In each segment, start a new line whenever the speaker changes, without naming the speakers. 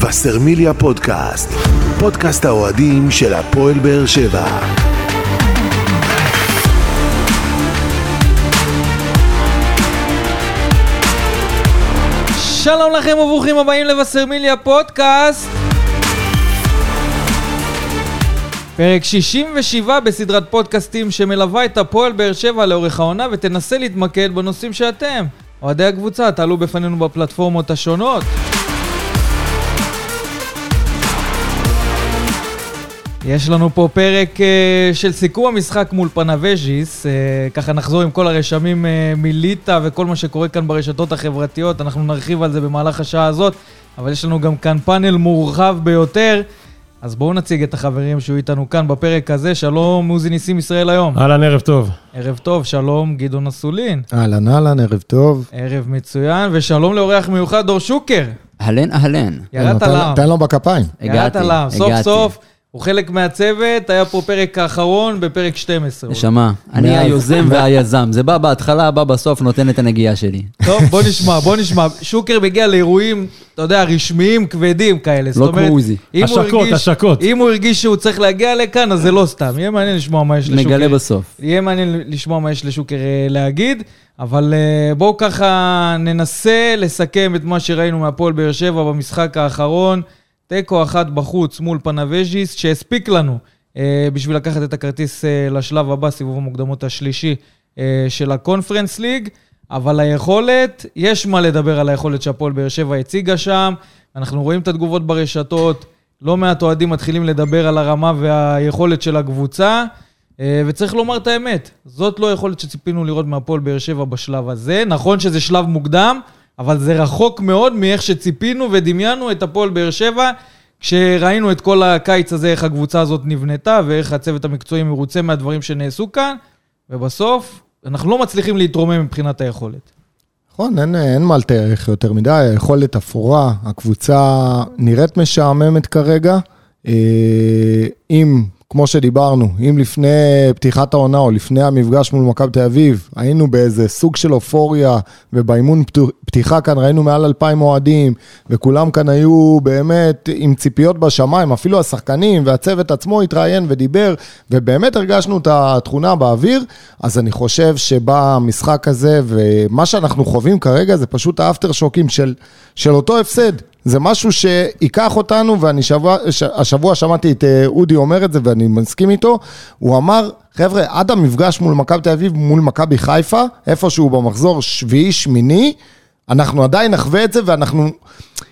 וסרמיליה פודקאסט, פודקאסט האוהדים של הפועל באר שבע.
שלום לכם וברוכים הבאים לבשרמיליה פודקאסט. פרק 67 בסדרת פודקאסטים שמלווה את הפועל באר שבע לאורך העונה ותנסה להתמקד בנושאים שאתם, אוהדי הקבוצה, תעלו בפנינו בפלטפורמות השונות. יש לנו פה פרק אה, של סיכום המשחק מול פנאבז'יס, אה, ככה נחזור עם כל הרשמים אה, מליטא וכל מה שקורה כאן ברשתות החברתיות, אנחנו נרחיב על זה במהלך השעה הזאת, אבל יש לנו גם כאן פאנל מורחב ביותר, אז בואו נציג את החברים שיהיו איתנו כאן בפרק הזה, שלום עוזי ניסים ישראל היום.
אהלן, ערב טוב.
ערב טוב, שלום גדעון אסולין,
אהלן אהלן, ערב טוב.
ערב מצוין, ושלום לאורח מיוחד דור שוקר,
אהלן, אהלן.
ירדת
תן לו-
לעם.
תן לו לא בכפיים.
ירדת
הגעתי,
עליו, סוף
הגעתי.
סוף, הוא חלק מהצוות, היה פה פרק האחרון בפרק 12.
נשמה, אני
מאז.
היוזם והיזם. זה בא בהתחלה, בא בסוף, נותן את הנגיעה שלי.
טוב, בוא נשמע, בוא נשמע. שוקר מגיע לאירועים, אתה יודע, רשמיים כבדים כאלה. זאת
לא
אומרת,
כמו עוזי.
אם הוא
השקות,
הרגיש-
השקות.
אם הוא הרגיש שהוא צריך להגיע לכאן, אז זה לא סתם. יהיה מעניין לשמוע מה יש לשוקר.
נגלה בסוף.
יהיה מעניין לשמוע מה יש לשוקר אה, להגיד, אבל אה, בואו ככה ננסה לסכם את מה שראינו מהפועל באר שבע במשחק האחרון. תיקו אחת בחוץ מול פנאבז'יס, שהספיק לנו אה, בשביל לקחת את הכרטיס אה, לשלב הבא, סיבוב המוקדמות השלישי אה, של הקונפרנס ליג. אבל היכולת, יש מה לדבר על היכולת שהפועל באר שבע הציגה שם. אנחנו רואים את התגובות ברשתות, לא מעט אוהדים מתחילים לדבר על הרמה והיכולת של הקבוצה. אה, וצריך לומר את האמת, זאת לא יכולת שציפינו לראות מהפועל באר שבע בשלב הזה. נכון שזה שלב מוקדם, אבל זה רחוק מאוד מאיך שציפינו ודמיינו את הפועל באר שבע, כשראינו את כל הקיץ הזה, איך הקבוצה הזאת נבנתה, ואיך הצוות המקצועי מרוצה מהדברים שנעשו כאן, ובסוף אנחנו לא מצליחים להתרומם מבחינת היכולת.
נכון, אין, אין מה לתארך יותר מדי, היכולת אפורה, הקבוצה נראית משעממת כרגע. אה, אם, כמו שדיברנו, אם לפני פתיחת העונה או לפני המפגש מול מכבי תל אביב, היינו באיזה סוג של אופוריה, ובאימון פתו- פתיחה כאן ראינו מעל 2,000 אוהדים, וכולם כאן היו באמת עם ציפיות בשמיים, אפילו השחקנים והצוות עצמו התראיין ודיבר, ובאמת הרגשנו את התכונה באוויר, אז אני חושב שבא המשחק הזה, ומה שאנחנו חווים כרגע זה פשוט האפטר שוקים של, של אותו הפסד. זה משהו שייקח אותנו, ואני שבוע, ש, השבוע שמעתי את אה, אודי אומר את זה, ואני מסכים איתו. הוא אמר, חבר'ה, עד המפגש מול מכבי תל אביב, מול מכבי חיפה, איפשהו במחזור שביעי-שמיני, אנחנו עדיין נחווה את זה, ואנחנו...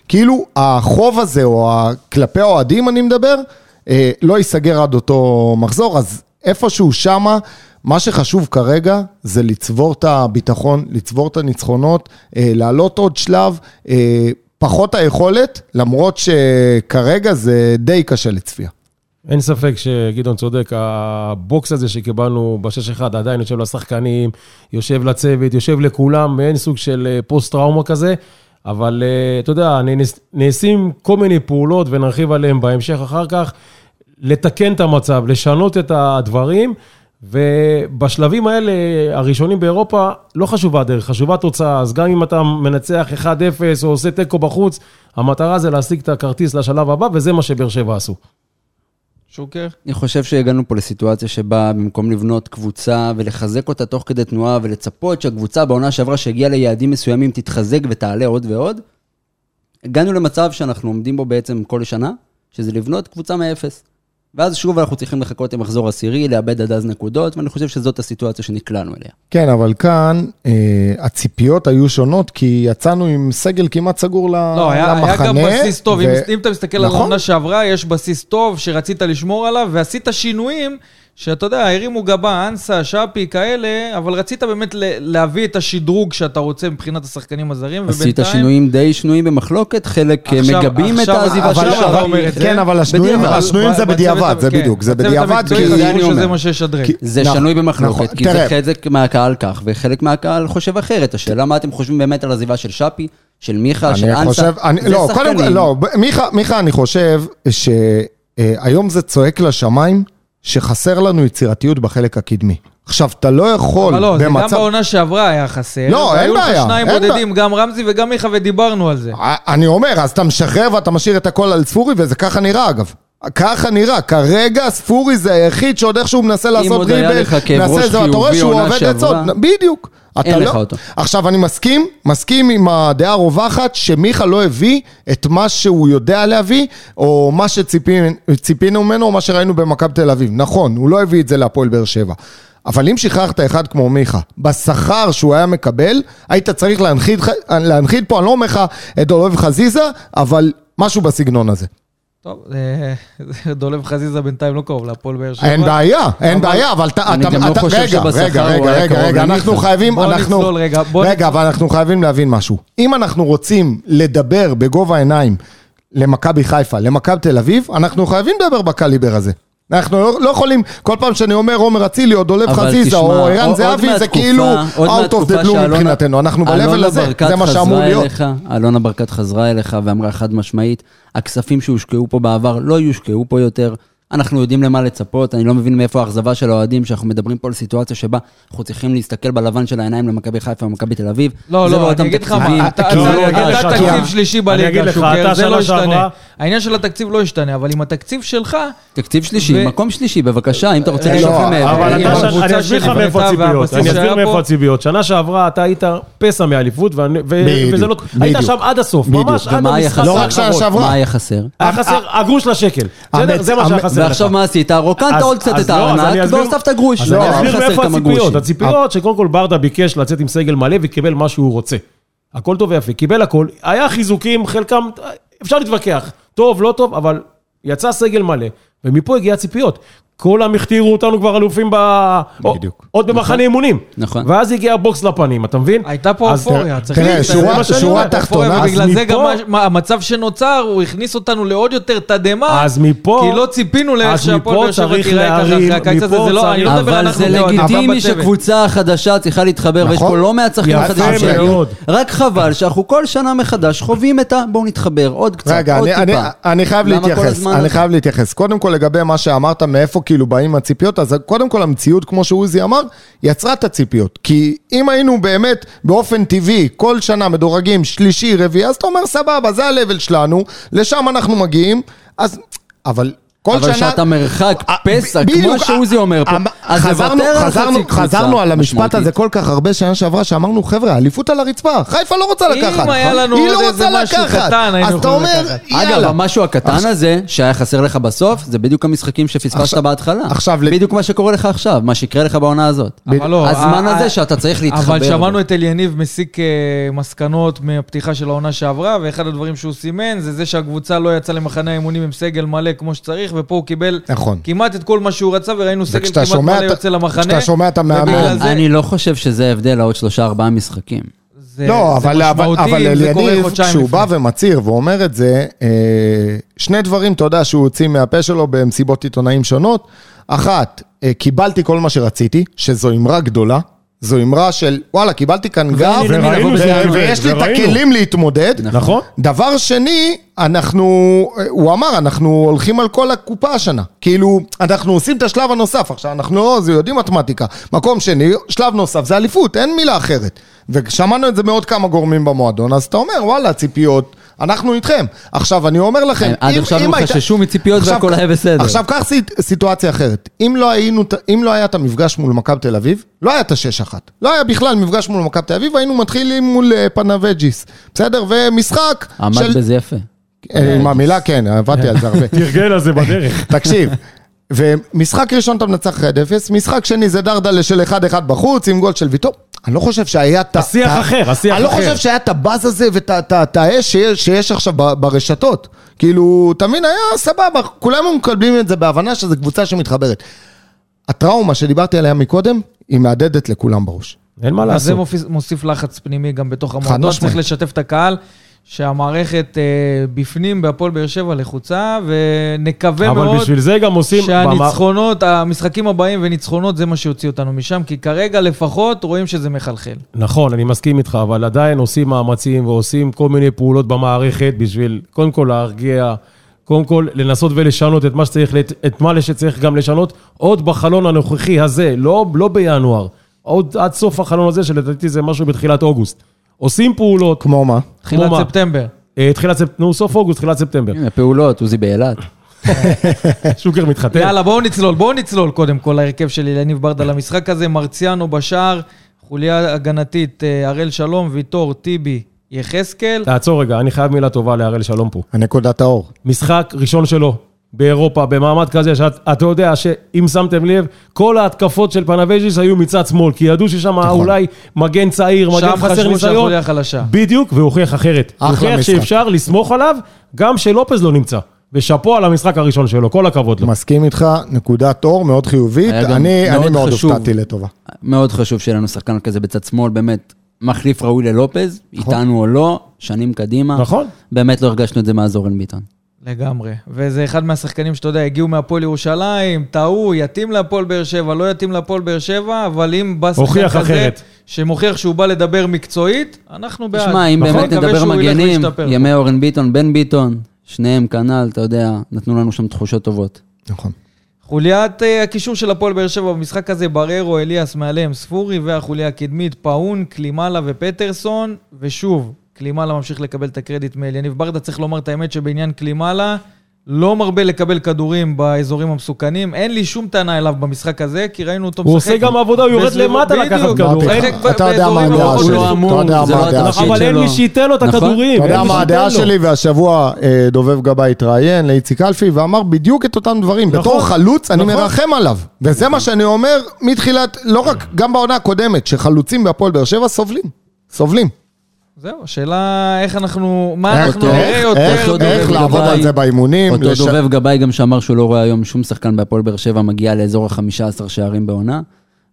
כאילו, החוב הזה, או ה- כלפי האוהדים, אני מדבר, אה, לא ייסגר עד אותו מחזור, אז איפשהו שמה, מה שחשוב כרגע זה לצבור את הביטחון, לצבור את הניצחונות, אה, לעלות עוד שלב, אה, פחות היכולת, למרות שכרגע זה די קשה לצפייה.
אין ספק שגדעון צודק, הבוקס הזה שקיבלנו ב-6-1 עדיין יושב לשחקנים, יושב לצוות, יושב לכולם, מעין סוג של אה, פוסט-טראומה כזה, אבל אה, אתה יודע, נס- נעשים כל מיני פעולות ונרחיב עליהן בהמשך אחר כך, לתקן את המצב, לשנות את הדברים, ובשלבים האלה, הראשונים באירופה, לא חשובה הדרך, חשובה התוצאה. אז גם אם אתה מנצח 1-0 או עושה תיקו בחוץ, המטרה זה להשיג את הכרטיס לשלב הבא, וזה מה שבאר שבע עשו.
שוקר?
אני חושב שהגענו פה לסיטואציה שבה במקום לבנות קבוצה ולחזק אותה תוך כדי תנועה ולצפות שהקבוצה בעונה שעברה שהגיעה ליעדים מסוימים תתחזק ותעלה עוד ועוד, הגענו למצב שאנחנו עומדים בו בעצם כל שנה, שזה לבנות קבוצה מאפס. ואז שוב אנחנו צריכים לחכות למחזור עשירי, לאבד עד אז נקודות, ואני חושב שזאת הסיטואציה שנקלענו אליה.
כן, אבל כאן אה, הציפיות היו שונות, כי יצאנו עם סגל כמעט סגור ל- למחנה.
לא, היה, היה גם בסיס טוב. ו... אם,
ו-
אם אתה מסתכל נכון? על
נכון.
העונה שעברה, יש בסיס טוב שרצית לשמור עליו, ועשית שינויים שאתה יודע, הרימו גבה, אנסה, שפי, כאלה, אבל רצית באמת ל- להביא את השדרוג שאתה רוצה מבחינת השחקנים הזרים,
עשית שינויים די שנויים במחלוקת, חלק אה,
עכשיו-
מגבים את
עכשיו-
העזיבה
עכשיו
של
אבל,
אתה
שרי.
אבל,
אומר את זה.
כן, אבל השנויים,
בדיעבד.
השנויים זה
בצוות
בדיעבד,
המ-
זה
כן,
בדיוק, זה
בצוות
בדיעבד,
המקצועי
כי...
זה
חשבו
אני
שזה
אומר.
מה שישדרג.
כי-
זה
נכון,
שנוי במחלוקת,
נכון.
כי זה
תראה.
חלק מהקהל כך, וחלק מהקהל חושב אחרת. השאלה מה אתם חושבים באמת על עזיבה של שפי, של מיכה, של
אני
אנסה.
חושב, אני,
זה
לא,
שחקנים.
קודם כל, לא, ב- מיכה, מיכה, אני חושב אה, שהיום זה צועק לשמיים שחסר לנו יצירתיות בחלק הקדמי. עכשיו, אתה לא יכול
אבל לא, זה גם בעונה שעברה היה חסר.
לא, אין
והיו
בעיה,
לך שניים
אין
בודדים, גם רמזי וגם מיכה, ודיברנו על זה.
אני אומר, אז אתה משחרר ואתה משאיר את הכל על ספורי, וזה ככה נראה אגב. ככה נראה, כרגע ספורי זה היחיד שעוד איכשהו מנסה לעשות
עוד היה לך כאב
מנסה
ראש
זה, אתה רואה
חיובי
שהוא
עונה
עובד
שעברה,
עצות, בדיוק. אתה לא-
אין לך אותו.
עכשיו, אני מסכים, מסכים עם הדעה הרווחת שמיכה לא הביא את מה שהוא יודע להביא, או מה שציפינו ממנו, או מה שראינו במכבי תל אביב. נכון, הוא לא הביא את זה להפועל באר שבע. אבל אם שחררת אחד כמו מיכה, בשכר שהוא היה מקבל, היית צריך להנחית, להנחית פה, אני לא אומר לך את דולב חזיזה, אבל משהו בסגנון הזה.
טוב, אה, זה דולב חזיזה בינתיים לא קרוב להפועל באר שבע.
אין בעיה, אין בעיה, אבל אתה...
אני
אתה-
גם לא
אתה-
חושב
רגע,
שבשכר
רגע,
הוא
רגע,
היה
רגע,
קרוב
רגע,
למיכה.
אנחנו חייבים,
בוא
אנחנו...
נצלול רגע, בוא
רגע, אבל אנחנו חייבים להבין משהו. אם אנחנו רוצים לדבר בגובה העיניים למכבי חיפה, למכבי תל אביב, אנחנו חייבים לדבר בקליבר הזה. אנחנו לא, לא יכולים, כל פעם שאני אומר עומר אצילי או דולב
אבל
חזיזה
תשמע,
או ערן
עוד
זהבי, זה
מהתקופה-
כאילו
עוד
out of
מהתקופה
the blue
שאלונה-
מבחינתנו. אנחנו ב-level
אלונה
הזה,
ברקת
זה מה שאמור
חזרה
להיות.
אליך, אלונה ברקת חזרה אליך ואמרה חד משמעית, הכספים שהושקעו פה בעבר לא יושקעו פה יותר. אנחנו יודעים למה לצפות, אני לא מבין מאיפה האכזבה של האוהדים, שאנחנו מדברים פה על סיטואציה שבה אנחנו צריכים להסתכל בלבן של העיניים למכבי חיפה ומכבי תל אביב.
לא,
זה
לא,
אותם
אני אגיד לך
תקציבים. כאילו,
מה, אתה
כי לא,
אתה-
לא,
אתה
לא,
תקציב
לא.
שלישי
אני אגיד
בליגה,
לך,
שוקר,
אתה
זה
שנה
לא ישתנה.
שעברה-
העניין של התקציב לא ישתנה, אבל עם התקציב שלך...
תקציב שלישי,
ו- אה,
מקום שלישי, בבקשה, אם אתה רוצה
לא,
לשחרר
אבל
עם
אתה, ש-
הקבוצה
אני אסביר לך
שנבנתה
מאיפה הציפיות,
והבסיס
אני אסביר
שהיה
מאיפה
פה.
הציפיות. שנה שעברה אתה היית פסע מאליפות, ואני- ו-
בדיוק,
וזה לא... היית
בדיוק.
שם עד הסוף,
בדיוק.
ממש עד
ומה היה
המשחק
חסר?
לא רק שנה
האחרון.
שעברה.
מה היה חסר?
היה חסר הגרוש לשקל. בסדר?
המ-
זה מה שהיה
המ-
חסר לך.
ועכשיו מה עשית? רוקנת
אז-
עוד קצת
אז
את
לא, אז אני
הארנק
אסביר-
והוספת גרוש.
אז אני
לא,
היה
אסביר
חסר
מאיפה
כמה
הציפיות.
לא, גרושים.
הציפיות שקודם כל ברדה ביקש לצאת עם סגל מלא וקיבל מה שהוא רוצה. הכל טוב ויפה, קיבל הכל. היה חיזוקים, חלקם, אפשר להתווכח. טוב, לא טוב, אבל יצא סגל מלא, ומפה הגיע הציפיות. כולם הכתירו אותנו כבר אלופים ב...
בדיוק.
עוד במחנה אימונים.
נכון.
ואז הגיע הבוקס לפנים, אתה מבין?
הייתה פה
אז
אופוריה, צריך
תראה,
להגיד,
שורה-
זה מה שאני
שורה
אומר, אופוריה,
תחתונה, אז
ובגלל זה גם
מפה-
מה- מה- המצב שנוצר, הוא הכניס אותנו לעוד יותר תדהמה,
אז מפה...
כי לא ציפינו לאיך
אז
שהפועל
מפה
באר שבע
צריך
תיראה ככה אחרי
להרים,
הקיץ הזה,
מפה
זה לא, אני
צריך-
לא מדבר על
אבל
אנחנו,
זה
כאוהדים, אבל
לגיטימי
בצוות.
שקבוצה חדשה צריכה להתחבר, ויש פה
נכון.
לא מעט שחקנים
יפה
חדשים שהגיעו.
מאוד.
רק חבל שאנחנו כל שנה מחדש חווים את ה... בואו נתחבר עוד קצת,
רגע,
עוד
אני, אני,
טיפה.
אני חייב
למה כל
להתייחס,
הזמן
אני
הזה?
חייב להתייחס. קודם כל לגבי מה שאמרת, מאיפה כאילו באים הציפיות, אז קודם כל המציאות, כמו שעוזי אמר, יצרה את הציפיות. כי אם היינו באמת באופן טבעי, כל שנה מדורגים שלישי, רביעי, אז אתה אומר סבבה, זה ה-level שלנו, לשם אנחנו מגיעים, אז... אבל כל
אבל
שנה...
שאתה מרחק
אה,
פסע,
בדיוק,
כמו
אה,
שעוזי אומר פה,
אמ-
אז
חזרנו-
תוותר על חצי
חזרנו-
קבוצה
חזרנו על המשפט
משמעותית.
הזה כל כך הרבה שנה שעברה, שאמרנו, חבר'ה, האליפות על הרצפה, חיפה לא רוצה
אם
לקחת.
היה לנו
היא
עוד
לא
איזה
רוצה
משהו
לקחת.
קטן, היינו
אז אתה
יכולים
אומר,
לקחת.
יאללה. לא,
אגב, המשהו הקטן הזה שהיה חסר לך בסוף, זה בדיוק המשחקים שפספסת
עכשיו-
בהתחלה.
עכשיו לג-
בדיוק מה שקורה לך עכשיו, מה שיקרה לך בעונה הזאת.
אבל לא,
הזמן
ה- ה-
הזה שאתה צריך להתחבר.
אבל שמענו את אליניב מסיק אה, מסקנות מהפתיחה של העונה שעברה, ואחד הדברים שהוא סימן זה זה שהקבוצה לא יצאה למחנה האימונים עם סגל מלא כמו שצריך, ופה הוא קיבל
נכון.
כמעט את כל מה שהוא רצה, וראינו סגל
וכשאתה
כמעט
שומע
מלא
את-
יוצא למחנה.
כשאתה שומע את המאמן-
ובגלל זה-
אני לא חושב שזה הבדל לעוד שלושה ארבעה משחקים.
זה-
לא,
זה
אבל, אבל,
משמעותי,
אבל
אם זה קורה
אליניב,
חודשיים
כשהוא
לפני.
בא ומצהיר ואומר את זה, אה, שני דברים, אתה יודע, שהוא הוציא מהפה שלו במסיבות עיתונאים שונות. אחת, אה, קיבלתי כל מה שרציתי, שזו אמרה גדולה. זו אמרה של, וואלה, קיבלתי כאן גב,
וראינו
ו-
שזה
ו-
עובד,
ויש לי את
וראינו.
הכלים להתמודד.
נכון?
דבר שני, אנחנו, הוא אמר, אנחנו הולכים על כל הקופה השנה. כאילו, אנחנו עושים את השלב הנוסף. עכשיו, אנחנו לא, זה יודעים מתמטיקה. מקום שני, שלב נוסף זה אליפות, אין מילה אחרת. ושמענו את זה מעוד כמה גורמים במועדון, אז אתה אומר, וואלה, ציפיות, אנחנו איתכם. עכשיו, אני אומר לכם,
עד עכשיו הם
הייתה-
חששו מציפיות
עכשיו-
והכל היה בסדר.
עכשיו, קח סיט- סיטואציה אחרת. אם לא, היינו, אם לא היה את המפגש מול מכבי תל אביב, לא היה את השש אחת. לא היה בכלל מפגש מול מכבי תל אביב, היינו מתחילים מול אה, פנאבג'יס. בסדר? ומשחק
עמד בזה יפה.
אה, עם המילה כן, עבדתי על זה הרבה.
תרגל על זה בדרך.
תקשיב, ומשחק ראשון אתה מנצח 1-0, משחק שני זה דרדלה של 1-1 בחוץ עם גול של ויטור. אני לא חושב שהיה את ה...
השיח
את ה-
אחר, השיח
אני לא
אחר.
חושב שהיה את הבאז הזה ואת ה- את ה- את האש שיש- שיש עכשיו ב- ברשתות. כאילו, תמיד היה סבבה, כולם היו מקבלים את זה בהבנה שזו קבוצה שמתחברת. הטראומה שדיברתי עליה מקודם, היא מהדהדת לכולם בראש.
אין מה
אז זה
לעשות.
מופיס- מוסיף לחץ פנימי גם בתוך המועדון,
משמעית.
צריך לשתף את הקהל. שהמערכת אה, בפנים בהפועל באר שבע לחוצה, ונקווה מאוד...
אבל בשביל זה גם עושים... במערכ-
שהניצחונות, המשחקים הבאים וניצחונות, זה מה שיוציא אותנו משם, כי כרגע לפחות רואים שזה מחלחל.
נכון, אני מסכים איתך, אבל עדיין עושים מאמצים ועושים כל מיני פעולות במערכת בשביל קודם כל להרגיע, קודם כל, לנסות ולשנות את מה שצריך, לת- את מה שצריך גם לשנות, עוד בחלון הנוכחי הזה, לא, לא בינואר, עוד עד סוף החלון הזה, שלדעתי זה משהו בתחילת אוגוסט. עושים פעולות,
כמו מה?
תחילת
מה?
ספטמבר.
אה, תחילת ספטמבר, נו, סוף אוגוסט, תחילת ספטמבר.
הנה, פעולות, עוזי באילת.
שוקר מתחתן.
יאללה, בואו נצלול, בואו נצלול קודם כל להרכב של יניב ברדה
כן.
למשחק הזה. מרציאנו בשער, חוליה הגנתית, אה, הראל שלום, ויטור, טיבי, יחזקאל.
תעצור רגע, אני חייב מילה טובה להראל שלום פה.
הנקודת האור.
משחק ראשון שלו באירופה, במעמד כזה, שאתה יודע שאם שמתם לב, כל ההתקפות של פנבז'יס היו מצד שמאל, כי ידעו ששם
נכון.
אולי מגן צעיר,
שם
מגן חסר
חשבו
ניסיון.
שהחוליה חלשה.
בדיוק, והוא הוכיח אחרת. הוא
אחלה
הוכיח
משחק.
שאפשר לסמוך עליו גם כשלופז לא נמצא. ושאפו על המשחק הראשון שלו, כל הכבוד לו.
מסכים איתך, נקודת אור מאוד חיובית.
לא. היה גם
אני
מאוד
אני מאוד
חשוב.
הופתעתי לטובה.
מאוד חשוב שיהיה לנו שחקן כזה בצד שמאל, באמת, מחליף ראוי ללופז,
נכון.
איתנו או לא, שנים קדימה.
נכון.
באמת לא הרגשנו את זה מאז אורן ביטון.
לגמרי. וזה אחד מהשחקנים שאתה יודע, הגיעו מהפועל ירושלים, טעו, יתאים להפועל באר שבע, לא יתאים להפועל באר שבע, אבל אם בא שחקן
הוכיח
כזה,
אחרת.
שמוכיח שהוא בא לדבר מקצועית, אנחנו בעד.
תשמע, אם
נכון.
באמת
מקווה
נדבר
שהוא ילך
מגנים,
וישתפר.
ימי אורן ביטון, בן ביטון, שניהם כנ"ל, אתה יודע, נתנו לנו שם תחושות טובות.
נכון.
חוליית אה, הקישור של הפועל באר שבע במשחק הזה, בררו, אליאס, מעליהם ספורי, והחוליה הקדמית, פאון, קלימאלה ופטרסון, ושוב, קלימאלה ממשיך לקבל את הקרדיט מאליניב ברדה. צריך לומר את האמת שבעניין קלימאלה, לא מרבה לקבל כדורים באזורים המסוכנים. אין לי שום טענה אליו במשחק הזה, כי ראינו אותו
הוא עושה גם עבודה, הוא יורד
בסביבו-
למטה לקחת
בדיוק.
כאילו,
כדור.
הוא
אמרתי
משחק
לך,
ב-
אתה יודע
באזורים
מה הדעה
המאוד
שלי.
לא אמורים.
אתה יודע
זה
מה
לא
הדעה
הדבר
שלי.
שלו.
אבל אין מי שייתן לו את
נכון.
הכדורים.
אתה יודע
אין מי
מה
שייתן
הדעה
לו.
שלי, והשבוע אה, דובב גבאי התראיין לאיציק אלפי ואמר בדיוק את אותם דברים. בתור חלוץ, אני
נכון.
מרחם עליו. וזה מה שאני אומר מתחילת, לא רק, גם בעונה הקודמת, שחלוצים בהפועל באר שבע סובלים. סובלים.
זהו, השאלה איך אנחנו, מה
איך- לא?
אנחנו
איך-
נראה
איך- לא?
יותר.
אה, אותו
איך
דובב
לעבוד
גבאי,
על זה באימונים,
אותו
לש-
דובב גבאי גם שאמר שהוא לא רואה היום שום שחקן בהפועל באר שבע מגיע לאזור ה-15 שערים בעונה.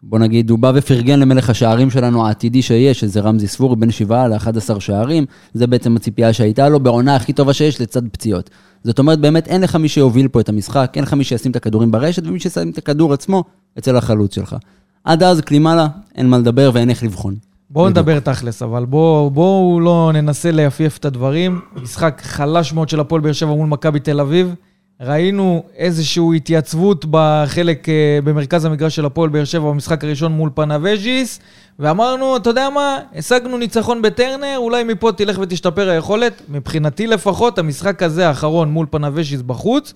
בוא נגיד, הוא בא ופרגן למלך השערים שלנו העתידי שיש, שזה רמזי ספורי, בין 7 ל-11 שערים. זה בעצם הציפייה שהייתה לו בעונה הכי טובה שיש לצד פציעות. זאת אומרת, באמת אין לך מי שיוביל פה את המשחק, אין לך מי שישים את הכדורים ברשת, ומי שישים את הכדור עצמו אצל החלוץ שלך. עד אז, קלימלה, אין מה לדבר ואין איך לבחון.
בואו נדבר תכלס, אבל בואו בוא לא ננסה ליפייף את הדברים. משחק חלש מאוד של הפועל באר שבע מול מכבי תל אביב. ראינו איזושהי התייצבות בחלק, אה, במרכז המגרש של הפועל באר שבע במשחק הראשון מול פנאבז'יס, ואמרנו, אתה יודע מה, השגנו ניצחון בטרנר, אולי מפה תלך ותשתפר היכולת. מבחינתי לפחות, המשחק הזה האחרון מול פנאבז'יס בחוץ,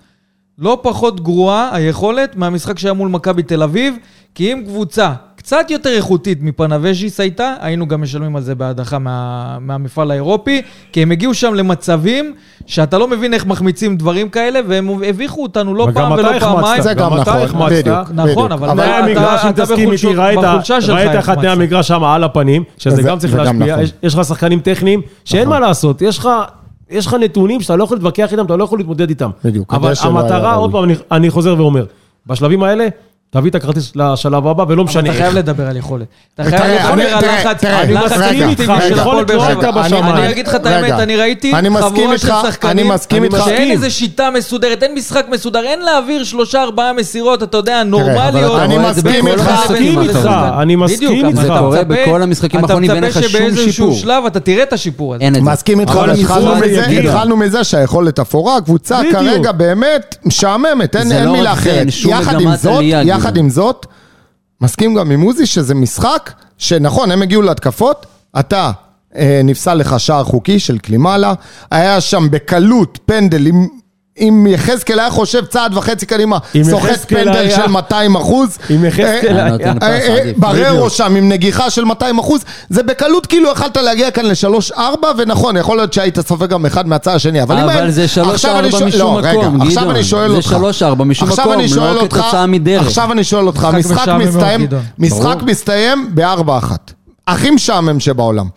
לא פחות גרועה היכולת מהמשחק שהיה מול מכבי תל אביב, כי אם קבוצה קצת יותר איכותית מפנבז'יס הייתה, היינו גם משלמים על זה בהדחה מה, מהמפעל האירופי, כי הם הגיעו שם למצבים שאתה לא מבין איך מחמיצים דברים כאלה, והם הביכו אותנו לא פעם ולא פעמיים.
זה גם
אתה
נכון,
החמצת.
בדיוק.
נכון, אבל
אבל
תנאי
אתה-
המגרש, אם
אתה
תסכים
בחולשות-
איתי, ראית
בחולשה שלך
ראית אחד תנאי
החמצת.
המגרש שם על הפנים, שזה
זה-
גם צריך
זה גם
להשפיע,
נכון.
יש- יש לך שחקנים טכניים, שאין מה לעשות, יש לך... יש לך נתונים שאתה לא יכול להתווכח איתם, אתה לא יכול להתמודד איתם.
בדיוק,
אבל
כדי שלא היה
המטרה,
ראוי.
עוד פעם, אני- אני חוזר ואומר, בשלבים האלה, תביא את הכרטיס לשלב הבא, ולא משנה
אתה
איך.
חייב לדבר על יכולת. אתה חייב
תראה,
לדבר
אני-
על
תראה,
לחץ,
תראה,
לחץ
אני מסכים
אינטימי
איתך,
של הפועל
יכולת
באר
לא
שבע.
הייתה בשמיים.
אני אגיד לך את
רגע,
האמת, אני ראיתי
אני מסכים
חבורה של
איתך, אני
שחקנים
מסכים איתך.
שאין
מסכים.
איזה שיטה מסודרת, אין משחק מסודר, אין להעביר שלושה ארבעה מסירות, אתה יודע,
אבל
נורמליות.
אתה אני רואה את זה מסכים בכל איתך. המשחקים
בדיוק,
האחרונים. אני מסכים
בדיוק, אבל
איתך.
אתה
זה
קורה
מצפה-
בכל המשחקים האחרונים ואין לך שום
אתה מצפה שבאיזשהו
שיפור.
שלב אתה תראה את השיפור הזה.
אין את זה.
מסכים איתך,
אבל
אבל התחלנו
ניסו,
מזה-
יגידו.
התחלנו מזה שהיכולת אפורה, הקבוצה
בדיוק.
כרגע באמת משעממת, אין
זה
אין
לא
מילה
רק זה,
אחרת.
אין שום
יחד עם
מגמת
זאת,
עלייה,
יחד
גדעון.
עם זאת, מסכים גם עם עוזי שזה משחק שנכון, הם הגיעו להתקפות, אתה... אה, נפסל לך שער חוקי של קלימאלה, היה שם בקלות פנדל, אם- אם יחזקאל היה חושב צעד וחצי קדימה,
אם
סוחט
יחזקאל
פנדל
היה-
של 200 אחוז. אה,
אם
כן,
יחזקאל
היה נותן פס עדיף.
בררו שם עם נגיחה של 200 אחוז, זה בקלות כאילו יכלת להגיע כאן ל-3-4, ונכון, יכול להיות שהיית סופג גם אחד מהצד השני, אבל אם...
אבל
היה-
זה שלוש
עכשיו אני
ארבע
שואל-
משום
לא, רגע,
מקום, גדעון.
עכשיו אני שואל
זה
אותך.
שלוש ארבע משום
עכשיו
מקום,
אני שואל
לא
אותך-
כתוצאה מדרך.
עכשיו אני שואל אותך,
משחק
משחק
משעמם מאוד,
מסתיים,
גדעון.
משחק מסתיים בארבע אחת. הכי משעמם שבעולם.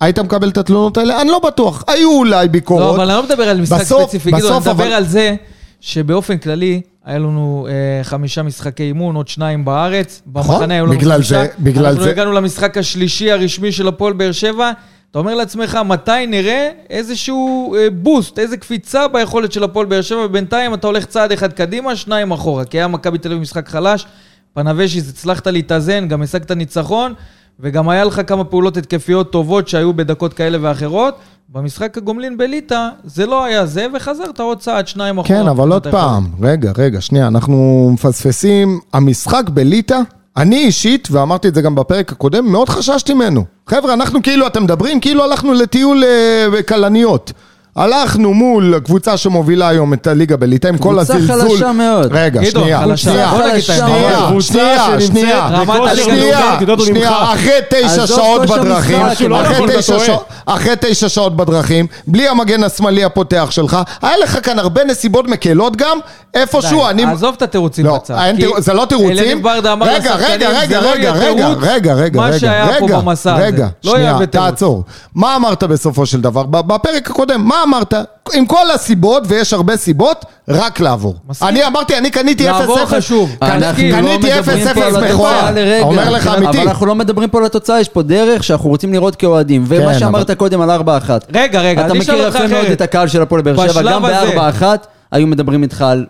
היית מקבל את התלונות האלה? אני לא בטוח. היו אולי ביקורות.
לא, אבל אני לא מדבר על משחק
בסוף-
ספציפי, גדעון, אני
בסוף,
מדבר
אבל-
על זה שבאופן כללי, היה לנו אה, חמישה משחקי אימון, עוד שניים בארץ,
נכון,
במחנה היו לנו
בגלל
חמישה,
זה- בגלל
אנחנו לא
זה-
הגענו למשחק השלישי הרשמי של הפועל באר שבע, אתה אומר לעצמך, מתי נראה איזשהו אה, בוסט, איזו קפיצה ביכולת של הפועל באר שבע, ובינתיים אתה הולך צעד אחד קדימה, שניים אחורה, כי היה מכבי תל אביב משחק חלש, פנבשיס, הצלחת להתאזן, גם השגת ניצחון, וגם היה לך כמה פעולות התקפיות טובות שהיו בדקות כאלה ואחרות, במשחק הגומלין בליטא, זה לא היה זה, וחזרת עוד צעד, שניים אחורה.
כן, אבל עוד
אתה יכול.
פעם, רגע, רגע, שנייה, אנחנו מפספסים. המשחק בליטא, אני אישית, ואמרתי את זה גם בפרק הקודם, מאוד חששתי ממנו. חבר'ה, אנחנו כאילו, אתם מדברים, כאילו הלכנו לטיול אה, בכלניות. הלכנו מול הקבוצה שמובילה היום את הליגה בליטא, עם כל
קבוצה
הזלזול.
חלשה מאוד.
רגע,
גדעון,
שנייה.
חלשה. בוא נגיד את האמת.
שנייה, שנייה, שנייה,
קבוצה שנמצאת
שנייה.
ברמת הליגה
שנייה,
הלאומית, גדעון, ממך.
שנייה, אחרי תשע
עזוב
שעות
כושר
בדרכים,
משחק,
לא
אחרי
נכון, אתה
תשע
טועה.
שעות- אחרי תשע שעות בדרכים, בלי המגן השמאלי הפותח שלך, היה לך כאן הרבה נסיבות מקלות גם, איפשהו
די,
אני...
עזוב את התירוצים
לא,
בצד.
אין
כי
תירוץ- זה לא תירוצים.
אלניב ברדה אמר
רגע,
לשחקנים,
רגע,
זה
רגע,
לא
רגע,
יהיה
רגע,
תירוץ,
רגע, רגע,
מה
רגע,
שהיה פה
רגע,
במסע הזה.
רגע,
לא יהיה
שנייה,
הרבה תירוץ.
תעצור. מה אמרת בסופו של דבר? ב- בפרק הקודם, מה אמרת? עם כל הסיבות, ויש הרבה סיבות, רק לעבור.
מסכים.
אני אמרתי, אני קניתי 0-0.
לעבור חשוב.
קנ-
אנחנו לא
קניתי
מדברים פה על
0-0
התוצאה
מכוער.
לרגע.
אומר לך
אבל
אמיתי.
אנחנו לא מדברים פה על התוצאה, יש פה דרך שאנחנו רוצים לראות כאוהדים. ומה
כן,
שאמרת קודם על 4-1.
רגע, רגע,
אתה
אני אשאל
מכיר
אותך
יפה מאוד
אחרת.
את הקהל של הפועל באר שבע,
בשלב
גם
הזה.
ב-4-1 היו מדברים איתך על...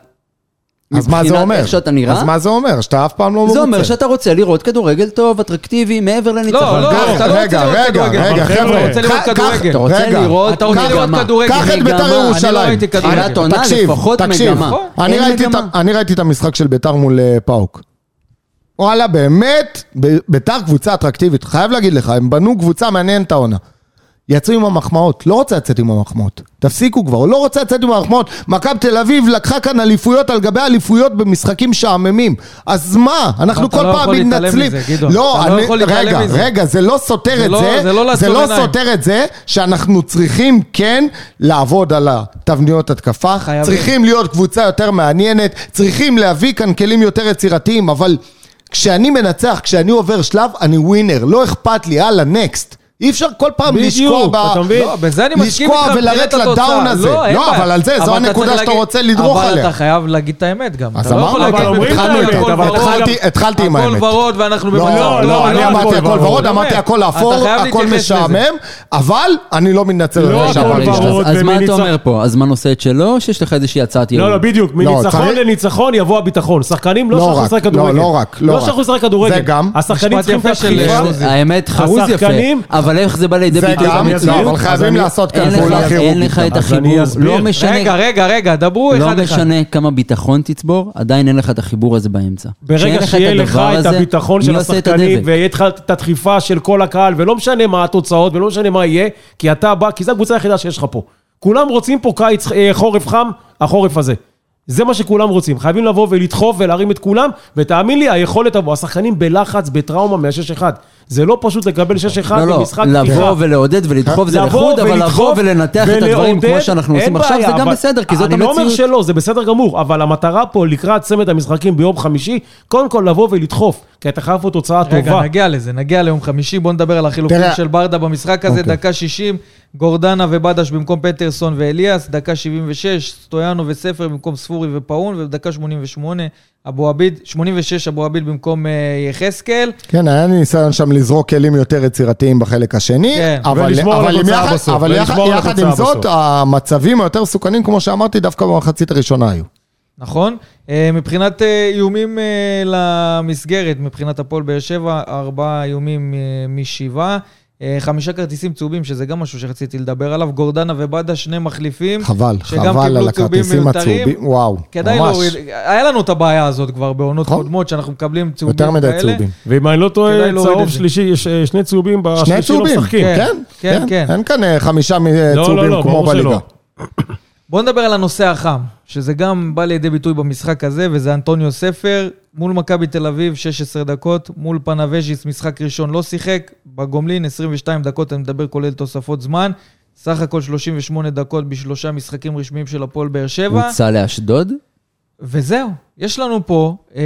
לא-
אז מה זה
מבחינת
אומר?
איך שאתה נראה?
אז מה זה אומר? שאתה אף פעם לא מרוצה.
זה אומר שאתה רוצה לראות כדורגל טוב, אטרקטיבי, מעבר
לא,
לניצחון.
לא,
רגע,
אתה לא רוצה
רגע,
לראות
רגע,
כדורגל.
רגע,
אבל
חבר'ה.
אתה רוצה
לראות
קח-
כדורגל.
קח-
אתה רוצה
רגע.
לראות
אתה רוצה
קח-
לראות
מגמה.
כדורגל.
קח את
מגמה,
בית"ר
אני לא
ירושלים.
ראיתי כדורגל. אה,
אני-
תחילת עונה, לפחות מגמה.
אני
אין
ראיתי את ה-
מגמה.
אני ראיתי את המשחק של ביתר מול אה, פאוק. וואלה, באמת, ב- ביתר קבוצה אטרקטיבית. חייב להגיד לך, הם בנו קבוצה מעניינת העונה. יצאו עם המחמאות, לא רוצה לצאת עם המחמאות. תפסיקו כבר, לא רוצה לצאת עם המחמאות. מכבי תל אביב לקחה כאן אליפויות על גבי אליפויות במשחקים משעממים. אז מה? אנחנו
אתה
כל
לא
פעם
יכול להתעלם
מתנצלים.
מזה, גדעון.
לא,
אתה לא
אני-
יכול להתעלם
רגע,
מזה.
רגע, זה לא סותר
זה
את
לא-
זה.
זה לא
זה
לעצום
לא
עיניים.
סותר את זה שאנחנו צריכים כן לעבוד על התבניות התקפה.
חייבים.
צריכים להיות קבוצה יותר מעניינת. צריכים להביא כאן כלים יותר יצירתיים, אבל... כשאני מנצח, כשאני עובר שלב, אני ווינר, לא אכפת לי, הלאה, נקסט. אי אפשר כל פעם
בדיוק,
לשקוע ב...
אתה מבין?
לא, בזה אני מסכים
לשקוע
איתך מבחינת
ולרדת לדאון
התוצאה.
הזה.
אין
לא,
בעיה.
אבל על זה, זו
אבל אתה
הנקודה
צריך
שאתה
להגיד-
רוצה לדרוך
אבל
עליה.
אתה חייב להגיד את האמת גם.
אז
אתה לא יכול
אמרנו,
להגיד
אבל
בבית"ר
התחלנו את
הכל
האמת, אבל
ורוד.
התחלתי- התחלתי עם האמת.
הכל ורוד ואנחנו
לא,
במצב
לא,
טוב.
לא, אני
הכל
אמרתי
ורוד.
הכל ורוד,
אני
אמרתי
אומר,
הכל
אתה
אפור,
חייב
הכל
להתייחס לזה.
משעמם, אבל אני לא מתנצל
לא
על
הכל
שעברתי
ורוד.
שלב.
אז- אז מה אתה
ומניצח-
אומר פה? הזמן עושה את שלו, או שיש לך איזושהי הצעת ייעוד?
לא, לא, בדיוק.
לא,
מניצחון
צריך-
לניצחון יבוא הביטחון. שחקנים לא
לא
שאנחנו
רק,
לשחק
לא,
כדורגל.
לא רק, לא רק.
לא שאנחנו לשחק כדורגל.
זה גם.
השחקנים
משפט
צריכים את
יפה של,
הדחיפה.
אה,
האמת, חרוז יפה,
השחקנים-
אבל איך זה בא לידי
זה
ביטוי?
גם,
אז
לא,
אני-
אבל
אז
חייבים
אני-
לעשות כאן
אין לך-
פעולה חירומית.
אין לך
גם.
את
אז אני
החיבור,
אסביר.
לא משנה
רגע, רגע, רגע, דברו
לא
אחד אחד.
משנה כמה ביטחון תצבור, עדיין אין לך את החיבור הזה באמצע. כשאין
ברגע
לך את
שיהיה לך
הדבר
את
הזה,
הביטחון של
מי עושה את
השחקנים,
הדבק?
ויהיה לך את הדחיפה של כל הקהל, ולא משנה מה התוצאות, ולא משנה מה יהיה, כי אתה בא, כי זו הקבוצה היחידה שיש לך פה. כולם רוצים פה קיץ, אה, חורף חם, החורף הזה. זה מה שכולם רוצים. חייבים לבוא ולדחוף ולהרים את כולם, ותאמין לי, היכולת תבוא. השחקנים בלחץ, בטראומה מה-6-1. זה לא פשוט לקבל 6-1
לא, לא,
במשחק פתיחה.
לבוא ולעודד ולדחוף זה
לבוא
לחוד, אבל
ולדחוף
לבוא ולנתח את הדברים
ולעודד,
כמו שאנחנו
אין
עושים עכשיו,
בעיה,
זה גם
אבל-
בסדר, כי זאת
אני לא אומר
המציאות.
שלא, זה בסדר גמור, אבל המטרה פה לקראת צמד המשחקים ביום חמישי, קודם כל לבוא ולדחוף, כי אתה חייב פה תוצאה
רגע,
טובה.
נגיע לזה, נגיע ליום חמישי, בוא נדבר על החילופים
תראה-
של ברדה במשחק הזה,
אוקיי.
דקה 60, גורדנה ובדש במקום פטרסון ואליאס, דקה 76, סטויאנו וספר במקום ספורי ופאון, ובדקה 88, אבו עביד, 86 אבו עביד במקום אה, יחזקאל.
כן, היה ניסיון שם לזרוק כלים יותר יצירתיים בחלק השני,
כן.
אבל
ולשמור על
אבל עם
התוצאה
יחד-
בסוף,
אבל יחד-
ולשמור על
יחד עם
התוצאה
זאת,
בסוף.
המצבים היותר מסוכנים, כמו שאמרתי, דווקא במחצית הראשונה היו.
נכון? אה, מבחינת אה, איומים אה, למסגרת, מבחינת הפועל באר שבע, ארבעה איומים אה, משבעה. אה, חמישה כרטיסים צהובים, שזה גם משהו שרציתי לדבר עליו. גורדנה ובאדה, שני מחליפים.
חבל,
שגם
חבל
קיבלו
על
צהובים
הכרטיסים
מיותרים.
הצהובים, וואו,
כדאי
ממש.
להוריד, היה לנו את הבעיה הזאת כבר בעונות
נכון.
קודמות, שאנחנו מקבלים צהובים
יותר
כאלה.
מדי צהובים.
ואם אני לא
כדאי
טועה,
להוריד את
צהוב
זה.
שלישי, יש אה, שני צהובים בשלישי
שני
לא
צהובים,
משחקים.
כן,
כן,
כן,
כן,
כן.
אין כאן אה, חמישה אה,
לא, לא,
צהובים
לא,
כמו
ברור שלא.
בליגה.
בואו נדבר על הנושא החם, שזה גם בא לידי ביטוי במשחק הזה, וזה אנטוניו ספר, מול מכבי תל אביב 16 דקות, מול פנאבז'יס משחק ראשון לא שיחק, בגומלין 22 דקות, אני מדבר כולל תוספות זמן, סך הכל 38 דקות בשלושה משחקים רשמיים של הפועל באר שבע,
הוצא לאשדוד?
וזהו. יש לנו פה אה,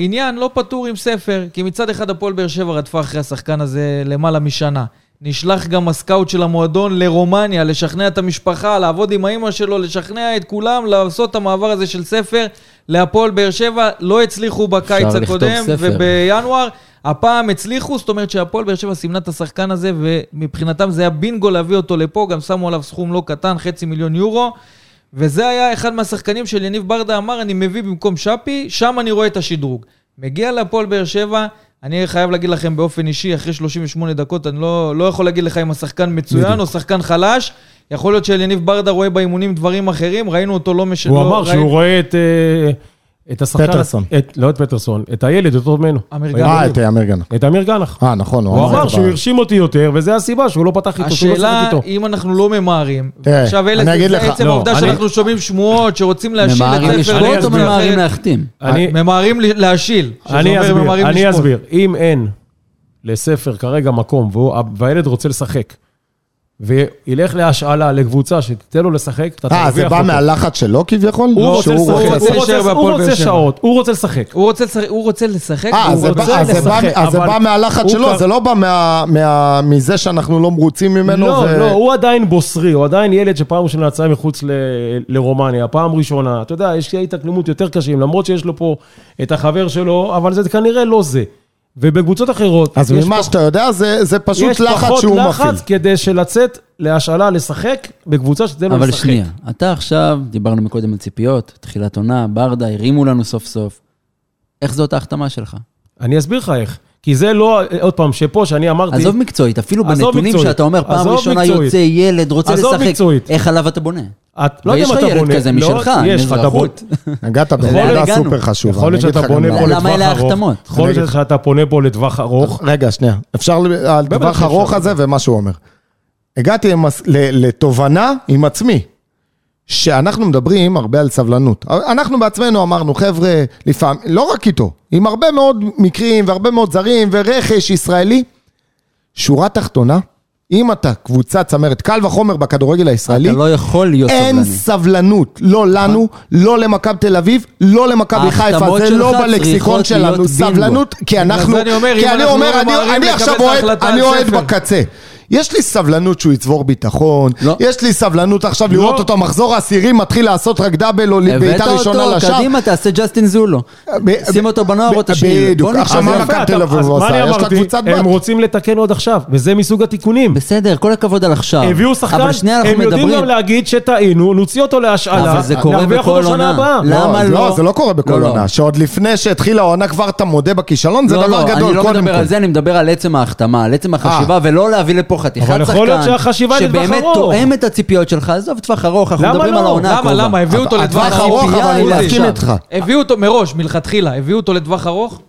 עניין לא פתור עם ספר, כי מצד אחד הפועל באר שבע רדפה אחרי השחקן הזה למעלה משנה. נשלח גם הסקאוט של המועדון לרומניה, לשכנע את המשפחה, לעבוד עם האימא שלו, לשכנע את כולם, לעשות את המעבר הזה של ספר להפועל באר שבע. לא הצליחו בקיץ
לכתוב
הקודם
ספר.
ובינואר. הפעם הצליחו, זאת אומרת שהפועל באר שבע סימנה את השחקן הזה, ומבחינתם זה היה בינגו להביא אותו לפה, גם שמו עליו סכום לא קטן, חצי מיליון יורו. וזה היה אחד מהשחקנים של יניב ברדה אמר, אני מביא במקום שפי, שם אני רואה את השדרוג. מגיע להפועל באר שבע, אני חייב להגיד לכם באופן אישי, אחרי 38 דקות, אני לא, לא יכול להגיד לך אם השחקן מצוין או שחקן חלש, יכול להיות שאליניב ברדה רואה באימונים דברים אחרים, ראינו אותו לא משנה.
הוא אמר שהוא רואה את... אה, את השחקן...
פטרסון.
את- לא את פטרסון, את הילד יותר טוב ממנו.
אמיר
באימונים.
אה, את אמיר גנח.
את אמיר גנח.
אה, נכון,
לא. הוא אמר
את
שהוא
ב-
הרשים אותי יותר, וזו הסיבה שהוא לא פתח איתו, שהוא לא שיחק
השאלה,
איתו.
אם אנחנו לא ממהרים,
תראה,
עכשיו אלה,
אני אגיד
זה
לך-
עצם
לא,
העובדה
אני-
שאנחנו שומעים שמועות שרוצים להשיל
ממהרים
את ספר...
לשבות או
אסביר.
ממהרים להחתים?
אני-
ממהרים ל- להשיל. שזה
אני
אומר
אסביר,
ממהרים
אני
לשפוט.
אסביר. אם אין לספר כרגע מקום, והוא- והילד רוצה לשחק, וילך להשאלה, לקבוצה שתיתן לו לשחק, אתה
אה,
תרוויח
זה בא מהלחץ שלו כביכול?
הוא רוצה
שהוא
לשחק,
רוצה
הוא רוצה-
להישאר
הוא
בהפועל באר
רוצה
שבע.
שעות, הוא רוצה לשחק.
הוא רוצה לשחק- הוא רוצה לשחק,
אה,
הוא
זה
רוצה-
בא- אז זה בא-
לשחק,
אז זה
אבל
בא מהלחץ
הוא
שלו,
כבר-
זה לא בא מה- מה- מזה שאנחנו לא מרוצים ממנו.
לא,
ו-
לא, הוא עדיין בוסרי, הוא עדיין ילד שפעם ראשונה יצא מחוץ ל- לרומניה, פעם ראשונה. אתה יודע, יש לי התאקלמות יותר קשים, למרות שיש לו פה את החבר שלו, אבל זה כנראה לא זה. ובקבוצות אחרות,
אז
יש
ממה
פח-
שאתה יודע, זה זה פשוט
יש
לחץ
פחות
שהוא מפעיל.
לחץ כדי שלצאת להשאלה לשחק בקבוצה שתיתן לו לשחק.
אבל שנייה, אתה עכשיו, דיברנו מקודם על ציפיות, תחילת עונה, ברדה, הרימו לנו סוף סוף. איך זאת ההחתמה שלך?
אני אסביר לך איך. כי זה לא, עוד פעם, שפה, שאני אמרתי...
עזוב מקצועית, אפילו
עזוב
בנתונים
מקצועית.
שאתה אומר, פעם
עזוב
ראשונה
מקצועית.
יוצא ילד, רוצה
עזוב
לשחק,
מקצועית.
איך עליו אתה בונה?
את, לא יודע
ויש
אם
לך
אתה
ילד
בונה.
כזה משלך,
לא, יש לך, אתה בונה-
מאזרחות.
נגעת
יכול
בנקודה
להיות-
סופר חשובה.
יכול להיות
אני אגיד
שאתה
לך גם
בונה
למה.
פה
למה
לטווח
אלה
ארוך.
ההחתמות?
יכול
אני
להיות שאתה בונה פה לטווח
נכון.
ארוך.
רגע, שנייה. אפשר ל-
לא,
על טווח
שאפשר.
ארוך הזה ומה שהוא אומר. הגעתי עם הס- ל- לתובנה עם עצמי, שאנחנו מדברים הרבה על סבלנות. אנחנו בעצמנו אמרנו, חבר'ה, לפעמים, לא רק איתו, עם הרבה מאוד מקרים והרבה מאוד זרים ורכש ישראלי, שורה תחתונה, אם אתה קבוצה צמרת, קל וחומר בכדורגל הישראלי,
אתה לא יכול להיות
אין
סבלני. נכון.
סבלנות, לא לנו, לא למכבי תל אביב, לא למכבי חיפה,
ההחתמות
זה
שלך
לא בלקסיקון
צריכות להיות
שלנו,
בינגו.
סבלנות, כי אנחנו,
זה אני אומר,
כי
אם
אני
אנחנו
אומר,
לא
אני-
ממהרים
אני
לקבל
עכשיו
את
אוהד,
ההחלטה
אני
על
אוהד
ספר.
בקצה. יש לי סבלנות שהוא יצבור ביטחון,
לא.
יש לי סבלנות עכשיו לראות אותו מחזור עשירי מתחיל לעשות רק דאבל או
הבאת
בעיטה ראשונה
אותו,
לשער.
קדימה, תעשה ג'סטין זולו.
ב-
שים אותו בנוער או
ב-
תשאיר.
בדיוק.
בוא נקרא
עכשיו
לזה
מה
יפה.
מכבי תל אביב
אז
עושה?
מה אני
יש לה
אמרתי?
קבוצת בת.
הם רוצים לתקן עוד עכשיו, וזה מסוג התיקונים.
בסדר, כל הכבוד על עכשיו.
הביאו שחקן,
אבל שנייה,
הם
אנחנו
יודעים
מדברים.
גם להגיד שטעינו, נוציא אותו להשאלה,
אבל זה קורה
נרוויח אותו
בכל עונה.
שנה הבאה.
לא, למה
לא,
לא?
זה לא קורה
לא,
בכל
לא.
עונה, שעוד לפני שהתחילה העונה כבר אתה מודה בכישלון, זה
לא,
דבר
לא, אני
גדול,
לא
קודם
מדבר
כל.
על זה, אני מדבר על עצם ההחתמה, על עצם החשיבה, ולא להביא לפה חתיכת שחקן.
אבל יכול להיות שהחשיבה לטווח
שבאמת
ארוך.
תואם את הציפיות שלך, עזוב טווח ארוך, אנחנו
למה
מדברים
לא?
על העונה
למה,
הקרובה.
למה? הביאו אותו
אבל-
לטווח
הטווח
ארוך.
ארוך, אבל אני
הציפייה היא
מסכים
לשם.
איתך.
הביאו אותו מראש, מלכתחילה, הביאו אותו לטווח ארוך,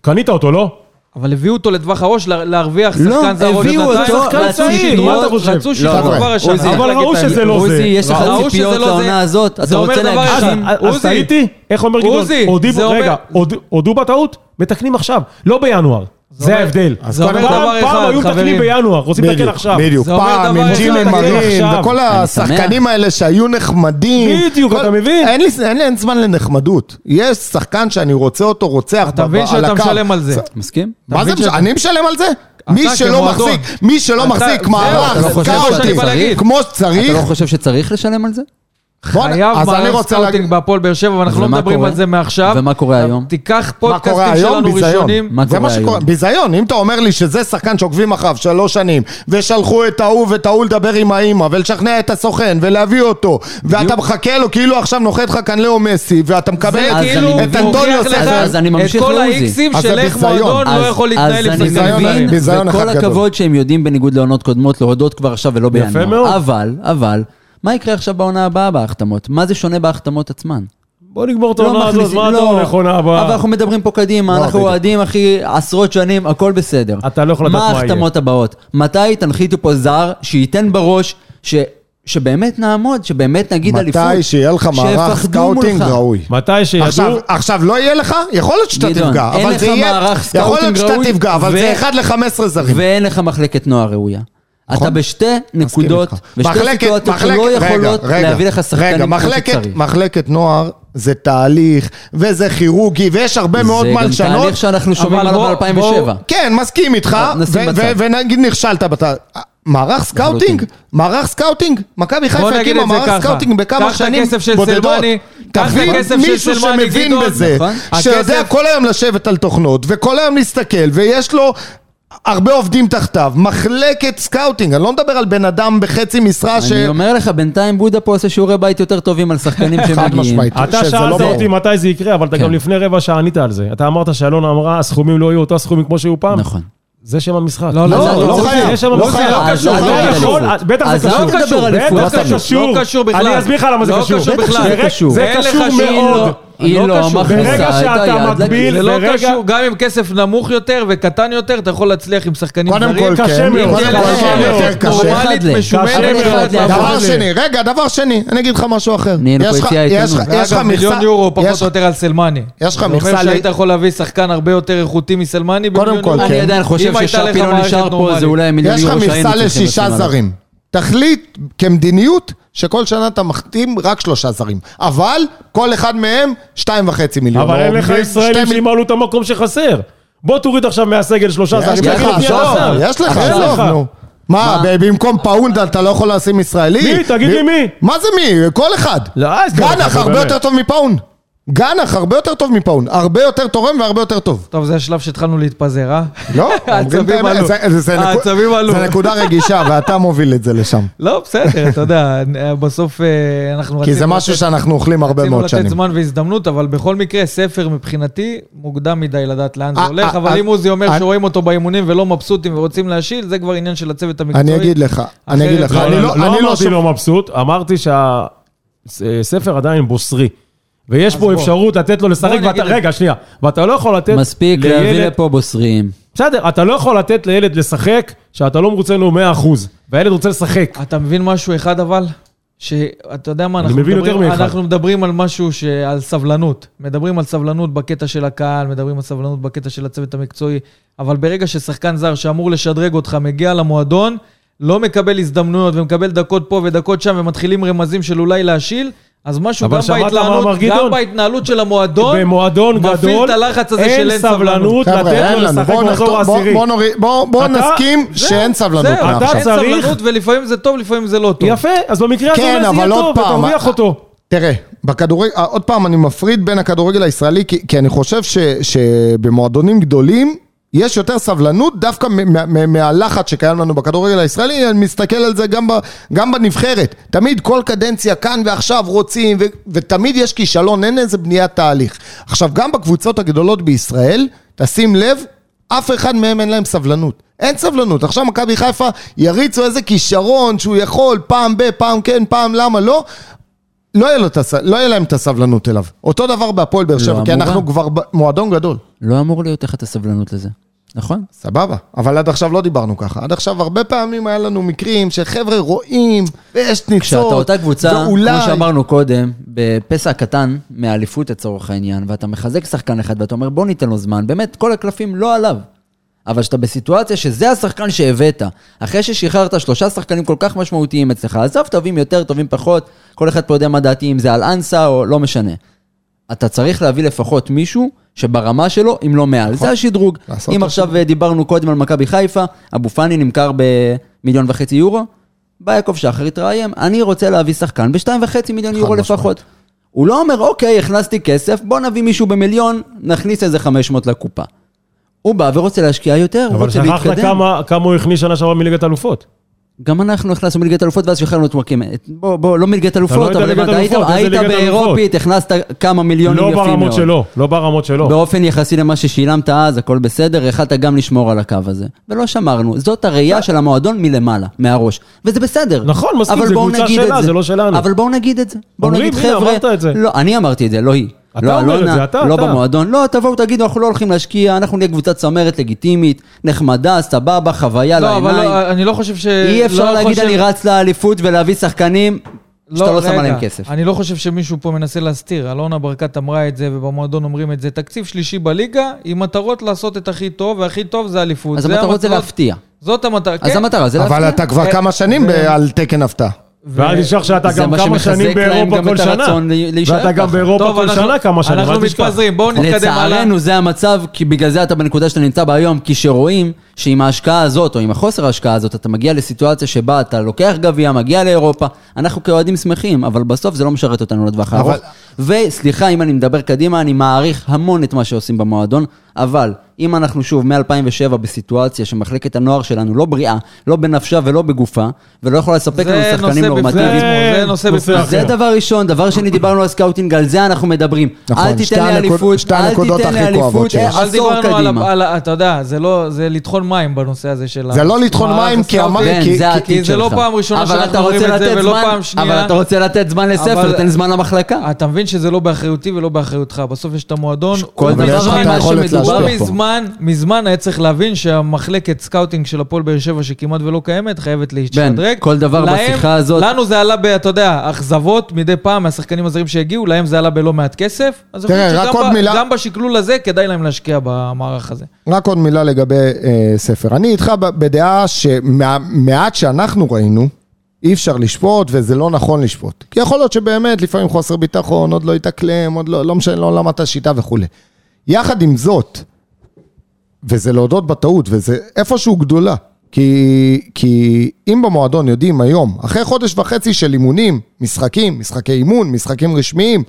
קנית אותו, לא?
אבל הביאו אותו לטווח ארוך לה- להרוויח
לא,
שחקן זר עוד
הביאו
שנתיים.
אותו,
שחקן
רצו
צעיר,
שדרוג,
מה אתה
רצו
חושב?
לא,
רצו שדרוג
חבר'ה,
כבר השנה.
עוזי,
צריך
אבל
להגיד
ראו
את האמת.
שזה לא
עוזי,
זה.
יש לך
ראו שזה
ציפיות
לא זה.
לעונה הזאת,
זה
אתה
אומר
רוצה
דבר
אז-
אחד.
להגשים.
אה, אז
עוזי.
טעיתי? איך אומר גדעון?
עוזי,
הודיעו-
זה אומר-
רגע, הוד- הודו בטעות, מתקנים עכשיו, לא בינואר. זה
אומר-
ההבדל.
זה אומר
פעם-
דבר אחד,
פעם היו מתקנים
חברים.
בינואר, רוצים לתקן
בדיוק,
עכשיו.
בדיוק,
זה אומר
פעם
דבר
עם
אחד,
ג'ימי
אתה מתקן
מרין,
עכשיו.
וכל
אני
השחקנים האלה שהיו נחמדים.
בדיוק,
כל-
אתה מבין?
אין לי אין לי- אין זמן לנחמדות. יש שחקן שאני רוצה אותו רוצח
אתה
ב-
מבין
ב-
שאתה
הקו.
משלם על זה.
אתה
מסכים?
מה זה
מבין
משלם?
שאתה-
אני משלם על זה? מי שלא
כמועדון.
מחזיק, מי שלא
אתה-
מחזיק
זהו,
אתה לא
מערך,
חושב שאני
סקאוטים,
בא להגיד.
כמו
אתה
שצריך,
לא חושב שצריך לשלם על זה?
בוא נ-
חייב
אז אני
מערך
רוצה להגיד,
סקאוטינג בהפועל באר שבע, ואנחנו לא
ומה
מדברים
קורה?
על זה מעכשיו.
ומה קורה
אתה
היום?
תיקח
מה קורה
פודקאסטים
היום?
שלנו
ביזיון.
ראשונים.
מה
זה
קורה
מה שקורה,
היום?
ביזיון. אם אתה אומר לי שזה שחקן שעוקבים אחריו שלוש שנים, ושלחו את ההוא ואת ההוא לדבר עם האימא, ולשכנע את הסוכן, ולהביא אותו, ואתה מחכה לו כאילו עכשיו נוחת לך כאן לאו מסי, ואתה מקבל
זה
את-
כאילו
את אנטוניו
מוכיח
אז-
לך
ספר.
אז אני
את
ממשיך
כל
לעוזי.
האיקסים
אז
של
זה
איך
ביזיון.
מועדון לא
אז-
יכול להתנהל עם
אז אני
שחקנים
ביזיון.
מבין,
זרים.
ביזיון
וכל
אחד גדול.
הכבוד שהם יודעים בניגוד לעונות קודמות להודות כבר עכשיו ולא
מאוד.
בינואר. אבל, אבל, מה יקרה עכשיו בעונה הבאה בהחתמות? מה זה שונה בהחתמות עצמן?
בוא נגמור את
לא
העונה הזאת,
מכניסים-
מה אתה
לא.
הולך עונה
אבל
הבאה?
אנחנו מדברים פה קדימה,
לא,
אנחנו
בדיוק.
אוהדים הכי עשרות שנים, הכל בסדר.
אתה לא יכול לדעת מה
מה
יהיה.
ההחתמות הבאות? מתי תנחיתו פה זר שייתן בראש, ש... שבאמת נעמוד, שבאמת נגיד אליפות.
מתי שיהיה לך מערך
שיפחדו
סקאוטינג
מולך.
ראוי.
מתי
עכשיו,
שידעו...
עכשיו לא יהיה לך? יכול להיות שאתה
גדעון,
תפגע,
אין
אבל
לך
זה יהיה...
מערך
יכול
סקאוטינג
להיות שאתה
ראוי,
תפגע, אבל
ו-
זה 1 ל-15 זרים.
ואין לך מחלקת נוער ראויה. אתה בשתי נקודות,
נכון. מסכים איתך.
בשתי
מחלקת-
סיטואציות
מחלקת-
שלא
רגע,
יכולות
רגע,
להביא לך
רגע,
שחקנים כמו
מחלקת-
שצריך.
מחלקת נוער זה תהליך, וזה כירורגי, ויש הרבה מאוד
זה
מה
גם
לשנות.
תהליך שאנחנו שומעים
אבל
עליו
בוא-
ב-2007.
כן, מסכים איתך,
טוב, נשים
ו-
בצד. לא
ו- ונגיד נכשלת בת... מערך סקאוטינג? מערך סקאוטינג? מכבי
בוא
חיפה
נגיד
הקימה
את זה
מערך
ככה.
סקאוטינג בכמה
קח את
שנים
הכסף של
בודדות.
סלמני, קח את
תביא
הכסף של
מישהו
סלמני,
שמבין
גדעון,
בזה,
נכון.
שיודע
הכסף-
כל היום לשבת על תוכנות, וכל היום להסתכל, ויש לו... הרבה עובדים תחתיו, מחלקת סקאוטינג, אני לא מדבר על בן אדם בחצי משרה ש...
אני לא- אומר לך, בינתיים בודה פה עושה שיעורי בית יותר טובים על שחקנים
חד
שמגיעים.
משמעית,
אתה
שזה לא
שאלת
ברור.
אותי מתי זה יקרה, אבל אתה
כן.
גם לפני רבע שעה ענית על זה. אתה אמרת שאלונה אמרה, הסכומים לא יהיו אותו הסכומים כמו שהיו פעם.
נכון.
זה שם המשחק.
לא, לא,
אז אני
לא
רוצה-
חייב.
זה שם
לא
המשחק.
חייב.
אז
קשור,
אל
לא
תדבר
יכול,
אליפות.
בטח
אז
זה
אל
קשור.
תדבר אליפות.
לא
בטח זה קשור.
לא קשור בכלל.
אני אסביר לך למה זה
לא
קשור.
קשור בכלל.
זה קשור.
זה
אין לך
קשור
שהיא
מאוד.
לא-
היא
לא
לא
קשור.
ברגע
מכניסה את
שאתה
היד
מגביל-
לכיס.
זה לא
ברגע-
קשור, גם עם כסף נמוך יותר וקטן יותר, אתה יכול להצליח עם שחקנים
קודם
זרים.
כל,
קשה
כן.
מאוד.
קודם כל,
קשה
כן,
מאוד.
יותר קשה.
אחד
נורמלית,
ל-
משומנת,
קשה
אחד
מאוד
לאחד.
לעבור.
דבר שני, רגע, דבר שני, אני אגיד לך משהו אחר.
נהיינו
יש
פה
לך-
יציאה
יש לך-
איתנו.
יש לך
אגב, מיליון
מכסה-
יורו, פחות
יש-
או יותר על סלמני.
יש לך
זה
מכסה
אומר
ל-
שהיית יכול להביא שחקן הרבה יותר איכותי מסלמני
קודם
במיליון
כל,
יורו?
כן.
אני עדיין חושב
אם הייתה לך
ששרפי לא
מערכת
נשאר פה,
נורמלית.
זה אולי מיליון
יש לך
יורו שהיינו
מכסה
צריכים
לשישה
לשים עליו.
זרים. תחליט כמדיניות שכל שנה אתה מחתים רק שלושה זרים. אבל כל אחד מהם שתיים וחצי מיליון.
אבל
או
אין לך
בלי- שתי
ישראלים
מיל-
שימלאו את המקום שחסר. בוא תוריד עכשיו מהסגל שלושה
יש
זרים.
לך,
תגיד לי מי אתה
עזוב,
שם.
יש לך,
אין
עזוב, נו. מה, ב- במקום פאונד אתה לא יכול לשים ישראלי?
מי? תגיד לי
ב-
מי.
מה זה מי? כל אחד.
לא, אז תגיד לך,
גנח
נו,
הרבה
באמת.
יותר טוב מפאונד. גנח הרבה יותר טוב מפאונד. הרבה יותר תורם והרבה יותר טוב.
טוב, זה השלב שהתחלנו להתפזר, אה?
לא, אומרים את
העצבים
האמת.
עלו.
זה- זה- זה נקו-
העצבים עלו.
זה נקודה רגישה, ואתה מוביל את זה לשם.
לא, בסדר, אתה יודע, בסוף אה, אנחנו
כי זה
רצינו
משהו
לתת-
שאנחנו אוכלים הרבה
רצינו
מאוד
לתת
שנים.
זמן והזדמנות, אבל בכל מקרה, ספר מבחינתי, מוקדם מדי לדעת לאן זה
אה,
הולך,
אה,
אבל
אה,
אם עוזי אומר
אני-
שרואים אותו באימונים ולא מבסוטים ורוצים להשיל, זה כבר עניין של הצוות המקצועי.
אני אגיד לך, אני אגיד לך,
לא,
אני
לא,
לא-
לא
אני לא
אמרתי
שופט.
לא מבסוט, אמרתי שהספר עדיין בוסרי. ויש פה אפשרות לתת לו לשחק,
אני
ואתה-
אגיד-
רגע, שנייה. ואתה לא יכול לתת
מספיק להביא
לילד...
לפה בוסרים.
בסדר, אתה לא יכול לתת לילד לשחק שאתה לא מרוצה ממנו 100%, והילד רוצה לשחק.
אתה מבין משהו אחד אבל? שאתה יודע מה,
אני
אנחנו
מבין
מדברים,
יותר מאחד.
אנחנו מדברים על משהו, ש... על סבלנות. מדברים על סבלנות בקטע של הקהל, מדברים על סבלנות בקטע של הצוות המקצועי, אבל ברגע ששחקן זר שאמור לשדרג אותך מגיע למועדון, לא מקבל הזדמנויות ומקבל דקות פה ודקות שם ומתחילים רמזים של אולי להשיל, אז משהו
אבל
גם
שמעת מה אמר
בהתנהלות,
גדעון?
גם בהתנהלות של המועדון,
במועדון
מפעיל
גדול,
את הלחץ הזה
אין
של אין סבלנות.
סבלנות. לתת לו לשחק
בואו
במחזור
נחתום- בואו-
העשירי.
בואו נוריד- בואו- בואו
אתה-
נסכים
זהו,
שאין סבלנות
זהו,
אתה
מעכשיו.
אין
צריך-
סבלנות ולפעמים זה טוב, לפעמים זה לא טוב.
יפה, אז במקרה
כן,
הזה אולי זה יהיה
אבל עוד
טוב,
פעם,
ותרוויח אותו.
תראה, בכדורגל, אה, עוד פעם, אני מפריד בין הכדורגל הישראלי, כי, כי אני חושב ש, שבמועדונים גדולים יש יותר סבלנות דווקא מ- מ- מ- מהלחץ שקיים לנו בכדורגל הישראלי, אני מסתכל על זה גם, ב, גם בנבחרת. תמיד כל קדנציה כאן ועכשיו רוצים, ו, ותמיד יש כישלון, אין איזה בניית תהליך. עכשיו, גם בקבוצות הגדולות בישראל, תשים לב, אף אחד מהם אין להם סבלנות. אין סבלנות. עכשיו מכבי חיפה יריצו איזה כישרון שהוא יכול, פעם ב, פעם כן, פעם למה לא. לא יהיה, לו את הס... לא יהיה להם את הסבלנות אליו. אותו דבר בהפועל באר שבע, כי
אמורה.
אנחנו כבר ב... מועדון גדול.
לא אמור להיות לך את הסבלנות לזה. נכון?
סבבה, אבל עד עכשיו לא דיברנו ככה. עד עכשיו הרבה פעמים היה לנו מקרים שחבר'ה רואים ויש ניצות.
כשאתה אותה קבוצה,
ואולי...
כמו שאמרנו קודם, בפסע קטן מהאליפות לצורך העניין, ואתה מחזק שחקן אחד ואתה אומר בוא ניתן לו זמן, באמת כל הקלפים לא עליו. אבל כשאתה בסיטואציה שזה השחקן שהבאת, אחרי ששחררת שלושה שחקנים כל כך משמעותיים אצלך, עזוב טובים יותר, טובים פחות, כל אחד פה יודע מה דעתי, אם זה על אנסה או לא משנה. אתה צריך להביא לפחות מישהו שברמה שלו, אם לא מעל. זה השדרוג.
נכון. לעשות
אם
את
עכשיו אה, דיברנו קודם על מכבי חיפה, אבו פאני נמכר במיליון וחצי יורו, בא יעקב שחר, התראיין, אני רוצה להביא שחקן בשתיים וחצי מיליון יורו לפחות. הוא לא אומר, אוקיי, הכנסתי כסף, בוא נביא מישהו במיליון, נכניס איזה 500 לקופה. הוא בא ורוצה להשקיע יותר, הוא
אבל
רוצה
שכחת
להתקדם.
כמה- כמה הוא הכניס שנה שעברה מליגת אלופות.
גם אנחנו הכנסנו מליגת אלופות ואז שחררנו את וואקים. בוא, בוא, לא מליגת אלופות,
יודע
אבל
ליגת
הבנת, היית,
אלופות, איזה
היית
ליגת
באירופית, הכנסת כמה מיליונים
לא
יפים מאוד.
ברמות שלו, לא ברמות שלו.
באופן יחסי למה ששילמת אז, הכל בסדר, יכלת גם לשמור על הקו הזה. ולא שמרנו. זאת הראייה של המועדון מלמעלה, מהראש. וזה בסדר.
אה. נכון, מסכים,
אבל
זה
בואו
קבוצה
נגיד
שלה,
את
זה לא שלנו.
אבל בואו נגיד את זה. בואו
אומרים,
נגיד,
הנה,
חבר'ה...
אמרת את זה.
לא, אני אמרתי את זה, לא היא.
אתה
לא
אומר את
אלונה,
זה, אתה,
לא
אתה.
במועדון. לא, תבואו, תגידו, אנחנו לא הולכים להשקיע, אנחנו נהיה קבוצת צמרת לגיטימית, נחמדה, סבבה, חוויה
לא,
לעיניים.
אבל לא, אני לא חושב ש...
אה,
אי אפשר
לא
להגיד
חושב-
אני רץ לאליפות ולהביא שחקנים שאתה לא שם
רגע,
עליהם כסף.
אני לא חושב שמישהו פה מנסה להסתיר. אלונה ברקת אמרה את זה, ובמועדון אומרים את זה. תקציב שלישי בליגה, עם מטרות לעשות את הכי טוב, והכי טוב זה אליפות.
אז המטרות זה
המטרות-
להפתיע.
זאת המטרה,
אז
כן.
המטרה זה
אבל
להפתיע.
אתה כבר כמה
אה,
שנים ב... על תקן הפתעה.
ואל תשכח שאתה
זה
גם
מה
כמה
שמחזק
שנים
להם
באירופה
גם
כל
את
שנה.
הרצון ל- להישאר
ואתה גם
ככה.
באירופה כל
אנחנו-
שנה כמה שנים,
אנחנו
אל תשכח.
מתפזרים, בואו נתקדם הלאה.
לצערנו זה המצב, כי בגלל זה אתה בנקודה שאתה נמצא בה היום, כי שרואים שעם ההשקעה הזאת, או עם החוסר ההשקעה הזאת, אתה מגיע לסיטואציה שבה אתה לוקח גביע, מגיע לאירופה, אנחנו כאוהדים שמחים, אבל בסוף זה לא משרת אותנו לטווח הארוך. וסליחה, אם אני מדבר קדימה, אני מעריך המון את מה שעושים במועדון, אבל אם אנחנו שוב מ-2007 בסיטואציה שמחלקת הנוער שלנו לא בריאה, לא בנפשה ולא בגופה, ולא יכולה לספק לנו
זה
שחקנים
נושא בפני
נורמטיביים,
עצמו, זה
כן.
נושא
נושא
בפני
אחר.
זה דבר ראשון, דבר שני, דיברנו על סקאוטינג, על זה אנחנו מדברים.
נכון,
אל
שתי
תיתן לי
הנקוד-
אליפות,
שתי
אל
הנקודות
תיתן
הכי
לי
כואבות
אליפות,
שיש.
אה,
אל
עשור
דיברנו על,
קדימה.
על, אתה יודע, זה לא, זה לטחון לטחון מים בנושא הזה של...
זה לא לטחון
המערך
מים, כי
הסקאוטי.
אמרתי-
כן,
כי-
זה
כי-
העתיד שלך.
כי זה לא פעם ראשונה
אבל
שאנחנו
אתה רוצה
אומרים את זה,
לתת
ולא
זמן-
פעם שנייה.
אבל אתה רוצה לתת זמן
אבל-
לספר, תן זמן למחלקה.
אתה מבין שזה לא באחריותי ולא באחריותך. בסוף יש את המועדון.
כל
אבל
דבר
יש לך את
ממה
היכולת
שמדובר
הוא
להשפיע
פה.
מזמן, מזמן היה צריך להבין שהמחלקת סקאוטינג של הפועל באר שבע, שכמעט ולא קיימת, חייבת להשתדרג.
בן, כל דבר בשיחה הזאת-
לנו זה עלה, ב, אתה יודע, אכזבות מדי פעם מהשחקנים הזרים שהגיעו, להם זה עלה בלא מעט כסף. אז אני
תראה,
חושב
רק
שגם
עוד
ב-
מילה-
גם בשקלול הזה כדאי להם להשקיע במערך הזה.
רק עוד מילה לגבי אה, ספר. אני איתך ב- בדעה שמעט שאנחנו ראינו, אי אפשר לשפוט וזה לא נכון לשפוט. כי יכול להיות שבאמת לפעמים חוסר ביטחון, עוד לא התאקלם, עוד לא, לא משנה, לא למד את השיטה וכולי. יחד עם זאת, וזה להודות בטעות, וזה איפשהו גדולה. כי, כי אם במועדון יודעים היום, אחרי חודש וחצי של אימונים, משחקים, משחקי אימון, משחקים רשמיים,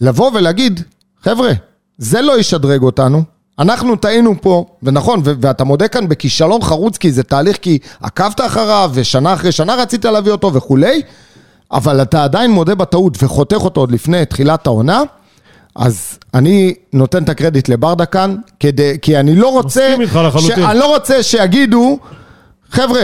לבוא ולהגיד, חבר'ה, זה לא ישדרג אותנו, אנחנו טעינו פה, ונכון, ו- ואתה מודה כאן בכישלון חרוץ, כי זה תהליך כי עקבת אחריו, ושנה אחרי שנה רצית להביא אותו וכולי, אבל אתה עדיין מודה בטעות וחותך אותו עוד לפני תחילת העונה, אז אני נותן את הקרדיט לברדה כאן, כדי, כי אני לא רוצה...
מסכים איתך לחלוטין.
ש- אני לא רוצה שיגידו, חבר'ה,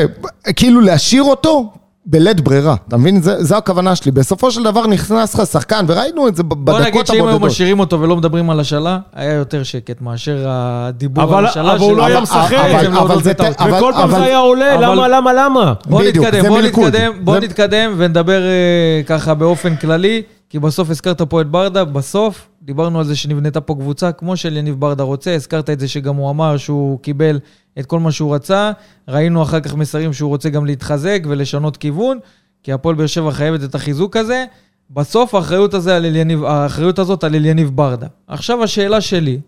כאילו להשאיר אותו בלית ברירה. אתה מבין? זה- זו הכוונה שלי. בסופו של דבר נכנס לך שחקן, וראינו את זה ב- בדקות
בוא
הבודדות.
נגיד שאם היו משאירים אותו ולא מדברים על השאלה, היה יותר שקט מאשר הדיבור
אבל-
על השאלה.
אבל הוא לא
של-
היה
אבל-
משחק.
אבל-
אבל-
אבל
זה-
זה טעות.
אבל-
וכל פעם זה היה עולה,
אבל-
למה, למה, למה?
בוא
בדיוק,
נתקדם,
זה
בוא
מלכוד.
נתקדם, בוא
זה-
נתקדם ונדבר אה, ככה באופן כללי, כי בסוף הזכרת פה את ברדה, בסוף דיברנו על זה שנבנתה פה קבוצה כמו של יניב ברדה רוצה, הזכרת את זה שגם הוא אמר שהוא קיבל את כל מה שהוא רצה, ראינו אחר כך מסרים שהוא רוצה גם להתחזק ולשנות כיוון, כי הפועל באר שבע חייבת את החיזוק הזה. בסוף האחריות, הזה על אליניב, האחריות הזאת על אליניב ברדה. עכשיו השאלה שלי,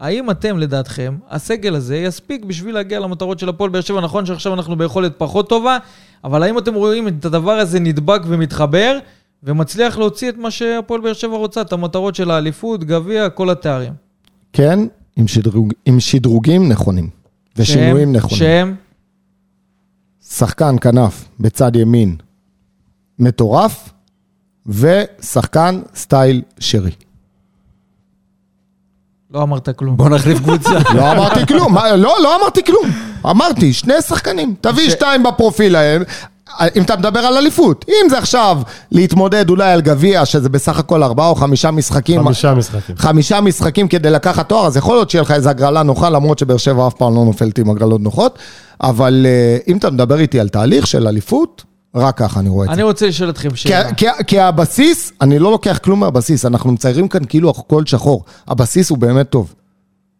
האם אתם, לדעתכם, הסגל הזה יספיק בשביל להגיע למטרות של הפועל באר שבע? נכון שעכשיו אנחנו ביכולת פחות טובה, אבל האם אתם רואים את הדבר הזה נדבק ומתחבר, ומצליח להוציא את מה שהפועל באר שבע רוצה, את המטרות של האליפות, גביע, כל התארים?
כן, עם, שדרוג, עם שדרוגים נכונים. ושינויים
שהם-
נכונים.
שהם,
שחקן כנף בצד ימין מטורף, ושחקן סטייל שרי.
לא אמרת כלום.
בוא נחליף קבוצה.
לא אמרתי כלום, מה- לא, לא אמרתי כלום. אמרתי, שני שחקנים. תביא שתיים בפרופיל להם. אם אתה מדבר על אליפות, אם זה עכשיו להתמודד אולי על גביע, שזה בסך הכל ארבעה או חמישה משחקים,
חמישה משחקים.
חמישה משחקים כדי לקחת תואר, אז יכול להיות שיהיה לך איזו הגרלה נוחה, למרות שבאר שבע אף פעם לא נופלת עם הגרלות נוחות, אבל אה, אם אתה מדבר איתי על תהליך של אליפות, רק ככה אני רואה את זה.
אני רוצה לשאול אתכם
כי,
כן.
שאלה.
כי, כי הבסיס, אני לא לוקח כלום מהבסיס, אנחנו מציירים כאן כאילו הכל שחור. הבסיס הוא באמת טוב.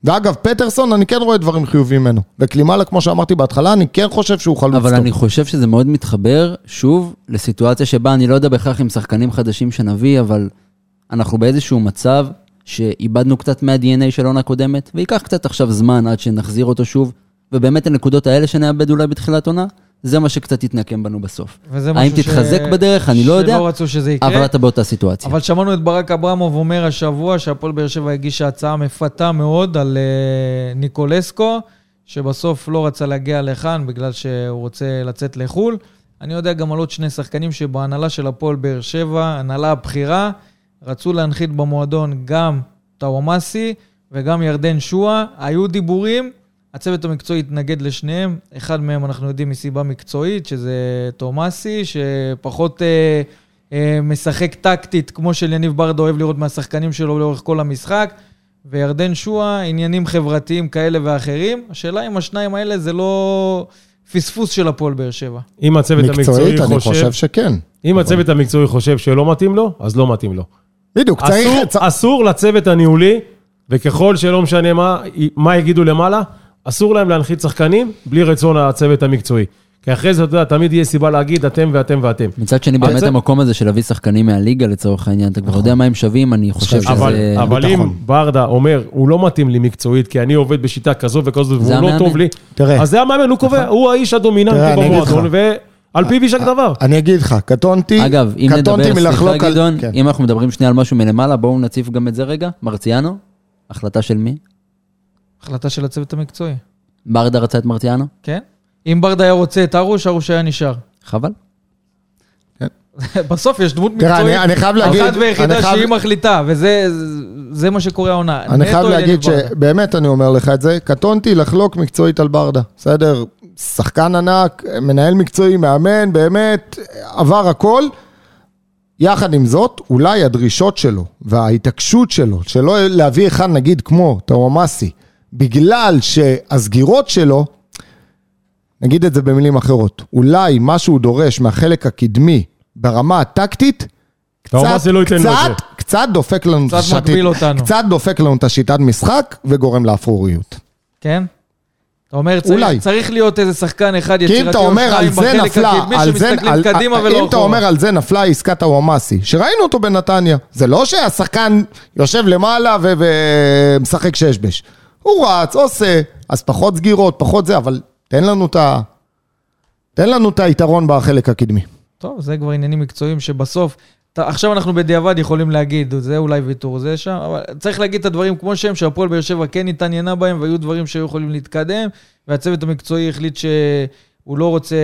ואגב, פטרסון, אני כן רואה דברים חיוביים ממנו. וקלימאלה, כמו שאמרתי בהתחלה, אני כן חושב שהוא חלוץ טוב.
אבל אני חושב שזה מאוד מתחבר, שוב, לסיטואציה שבה אני לא יודע בהכרח עם שחקנים חדשים שנביא, אבל אנחנו באיזשהו מצב שאיבדנו קצת מה-DNA של העונה הקודמת, וייקח קצת עכשיו זמן עד שנחזיר אותו שוב, ובאמת הנקודות האלה שנאבד אולי בתחילת עונה, זה מה שקצת יתנקם בנו בסוף.
וזה
האם
משהו ש-
תתחזק בדרך? אני לא יודע,
שלא רצו שזה יקרה.
אבל אתה באותה סיטואציה.
אבל שמענו את ברק אברמוב אומר השבוע שהפועל באר שבע הגישה הצעה מפתה מאוד על uh, ניקולסקו, שבסוף לא רצה להגיע לכאן בגלל שהוא רוצה לצאת לחו"ל. אני יודע גם על עוד שני שחקנים שבהנהלה של הפועל באר שבע, הנהלה הבכירה, רצו להנחית במועדון גם טאוואמאסי וגם ירדן שואה. היו דיבורים, הצוות המקצועי התנגד לשניהם. אחד מהם אנחנו יודעים מסיבה מקצועית, שזה תומאסי, שפחות אה, אה, משחק טקטית, כמו של יניב ברדה אוהב לראות מהשחקנים שלו לאורך כל המשחק. וירדן שואה, עניינים חברתיים כאלה ואחרים. השאלה אם השניים האלה זה לא פספוס של הפועל באר שבע.
אם הצוות המקצועי
מקצועית, אני
חושב...
חושב שכן.
אם הצוות המקצועי חושב שלא מתאים לו, אז לא מתאים לו.
בדיוק, צריך...
אסור-
צ-
אסור לצוות הניהולי, וככל שלא משנה מה- מה יגידו למעלה, אסור להם להנחית שחקנים בלי רצון הצוות המקצועי. כי אחרי זה, אתה יודע, תמיד יהיה סיבה להגיד אתם ואתם ואתם.
מצד שני,
אבל
באמת
זה-
המקום הזה של להביא שחקנים מהליגה לצורך העניין, אתה
נכון.
כבר יודע מה הם שווים, אני חושב שזה...
אבל, אבל אם
ביטחון.
ברדה אומר, הוא לא מתאים לי מקצועית, כי אני עובד בשיטה כזו וכזו, והוא לא
המאמן.
טוב לי,
תראה. נכון.
אז זה המאמן, הוא קובע, הוא האיש
תראה,
הדומיננטי
אני אגיד
במועדון,
לך. אה,
ועל פיו יישק דבר.
אני אגיד לך, קטונתי,
אגב, אם
קטונתי
נדבר,
מלחלוק
סליחה גדעון,
כן.
אם אנחנו מדברים שנייה על משהו מלמעלה, בואו נציף גם את זה רגע. מרציאנו, החלטה של מי?
החלטה של הצוות המקצועי,
ברדה רצה את מרציאנו?
כן? אם ברדה היה רוצה את ארוש, ארוש היה נשאר.
חבל.
בסוף יש דמות
תראה,
מקצועית,
אני- אני חייב להגיד-
אחת
אני
ויחידה
חייב-
שהיא מחליטה, וזה זה מה שקורה העונה.
אני
נטו
חייב
ענייני
להגיד
ברדה.
שבאמת אני אומר לך את זה, קטונתי לחלוק מקצועית על ברדה, בסדר? שחקן ענק, מנהל מקצועי, מאמן, באמת, עבר הכל. יחד עם זאת, אולי הדרישות שלו וההתעקשות שלו, שלא להביא אחד נגיד כמו טוואמאסי, בגלל שהסגירות שלו, נגיד את זה במילים אחרות, אולי מה שהוא דורש מהחלק הקדמי ברמה הטקטית,
טאומאסי לא ייתן לו את זה.
קצת, קצת דופק לנו
קצת
השיטת-
מגביל אותנו.
קצת דופק לנו את השיטת משחק וגורם לאפרוריות.
כן? אתה אומר, צריך,
אולי.
צריך להיות איזה שחקן אחד
כי אם
יצירתי
אתה
או
אומר על
שניים
זה
בחלק
נפלה,
הקדמי
על זה,
שמסתכלים
על-
קדימה ולא
אם אתה
אחורה.
אומר על זה נפלה עסקת הוואמאסי, שראינו אותו בנתניה, זה לא שהשחקן יושב למעלה ו- ומשחק שש בש. הוא רץ, עושה, אז פחות סגירות, פחות זה, אבל תן לנו את ה... תן לנו את היתרון בחלק הקדמי.
טוב, זה כבר עניינים מקצועיים שבסוף, אתה, עכשיו אנחנו בדיעבד יכולים להגיד, זה אולי ויתור, זה שם, אבל צריך להגיד את הדברים כמו שהם, שהפועל באר שבע כן התעניינה בהם, והיו דברים שהיו יכולים להתקדם, והצוות המקצועי החליט שהוא לא רוצה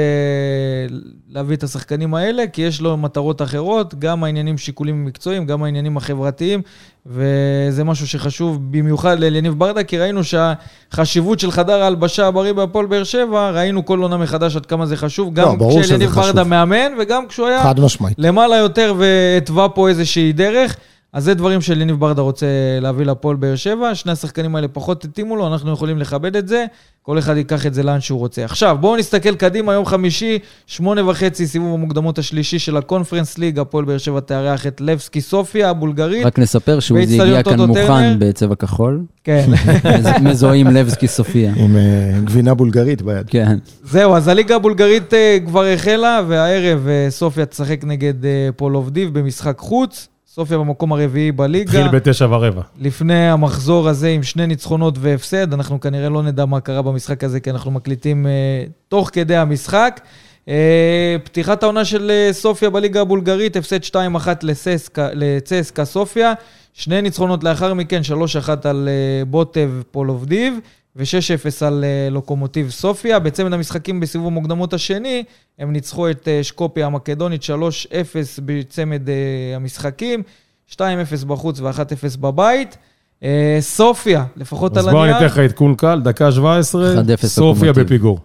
להביא את השחקנים האלה, כי יש לו מטרות אחרות, גם העניינים שיקולים מקצועיים, גם העניינים החברתיים, וזה משהו שחשוב במיוחד ליניב ברדה, כי ראינו שהחשיבות של חדר ההלבשה הבריא בהפועל באר שבע, ראינו כל עונה מחדש עד כמה זה חשוב,
לא,
גם
ברור שזה
כשליניב
חשוב.
ברדה מאמן, וגם כשהוא היה
חד משמעית.
למעלה יותר והתווה פה איזושהי דרך. אז זה דברים שליניב ברדה רוצה להביא לפועל באר שבע. שני השחקנים האלה פחות התאימו לו, אנחנו יכולים לכבד את זה. כל אחד ייקח את זה לאן שהוא רוצה. עכשיו, בואו נסתכל קדימה, יום חמישי, שמונה וחצי, סיבוב המוקדמות השלישי של הקונפרנס ליג. הפועל באר שבע תארח את לבסקי סופיה הבולגרית.
רק נספר שהוא זה
באיצטדיון
הגיע
טוטו
כאן
טרנר.
מוכן בצבע כחול.
כן.
מז- מזוהים לבסקי סופיה.
עם אה, גבינה בולגרית ביד.
כן.
זהו, אז הליגה הבולגרית אה, כבר החלה, והערב אה, סופיה תשחק נגד אה, פולובדיב במשחק חוץ. סופיה במקום הרביעי בליגה.
התחיל בתשע ורבע.
לפני המחזור הזה עם שני ניצחונות והפסד, אנחנו כנראה לא נדע מה קרה במשחק הזה, כי אנחנו מקליטים אה, תוך כדי המשחק. אה, פתיחת העונה של אה, סופיה בליגה הבולגרית, הפסד 2-1 לססקה- לצסקה סופיה, שני ניצחונות לאחר מכן, 3-1 על אה, בוטב פולובדיב. ו-6-0 על אה, לוקומוטיב סופיה. בצמד המשחקים בסיבוב המוקדמות השני, הם ניצחו את אה, שקופיה המקדונית 3-0 בצמד אה, המשחקים, 2-0 בחוץ ו-1-0 בבית. אה, סופיה, לפחות
אז
על
בואו אני אתן
הנייר,
לך עדכון קל, דקה 17,
1-0
סופיה
לקומטיב.
בפיגור.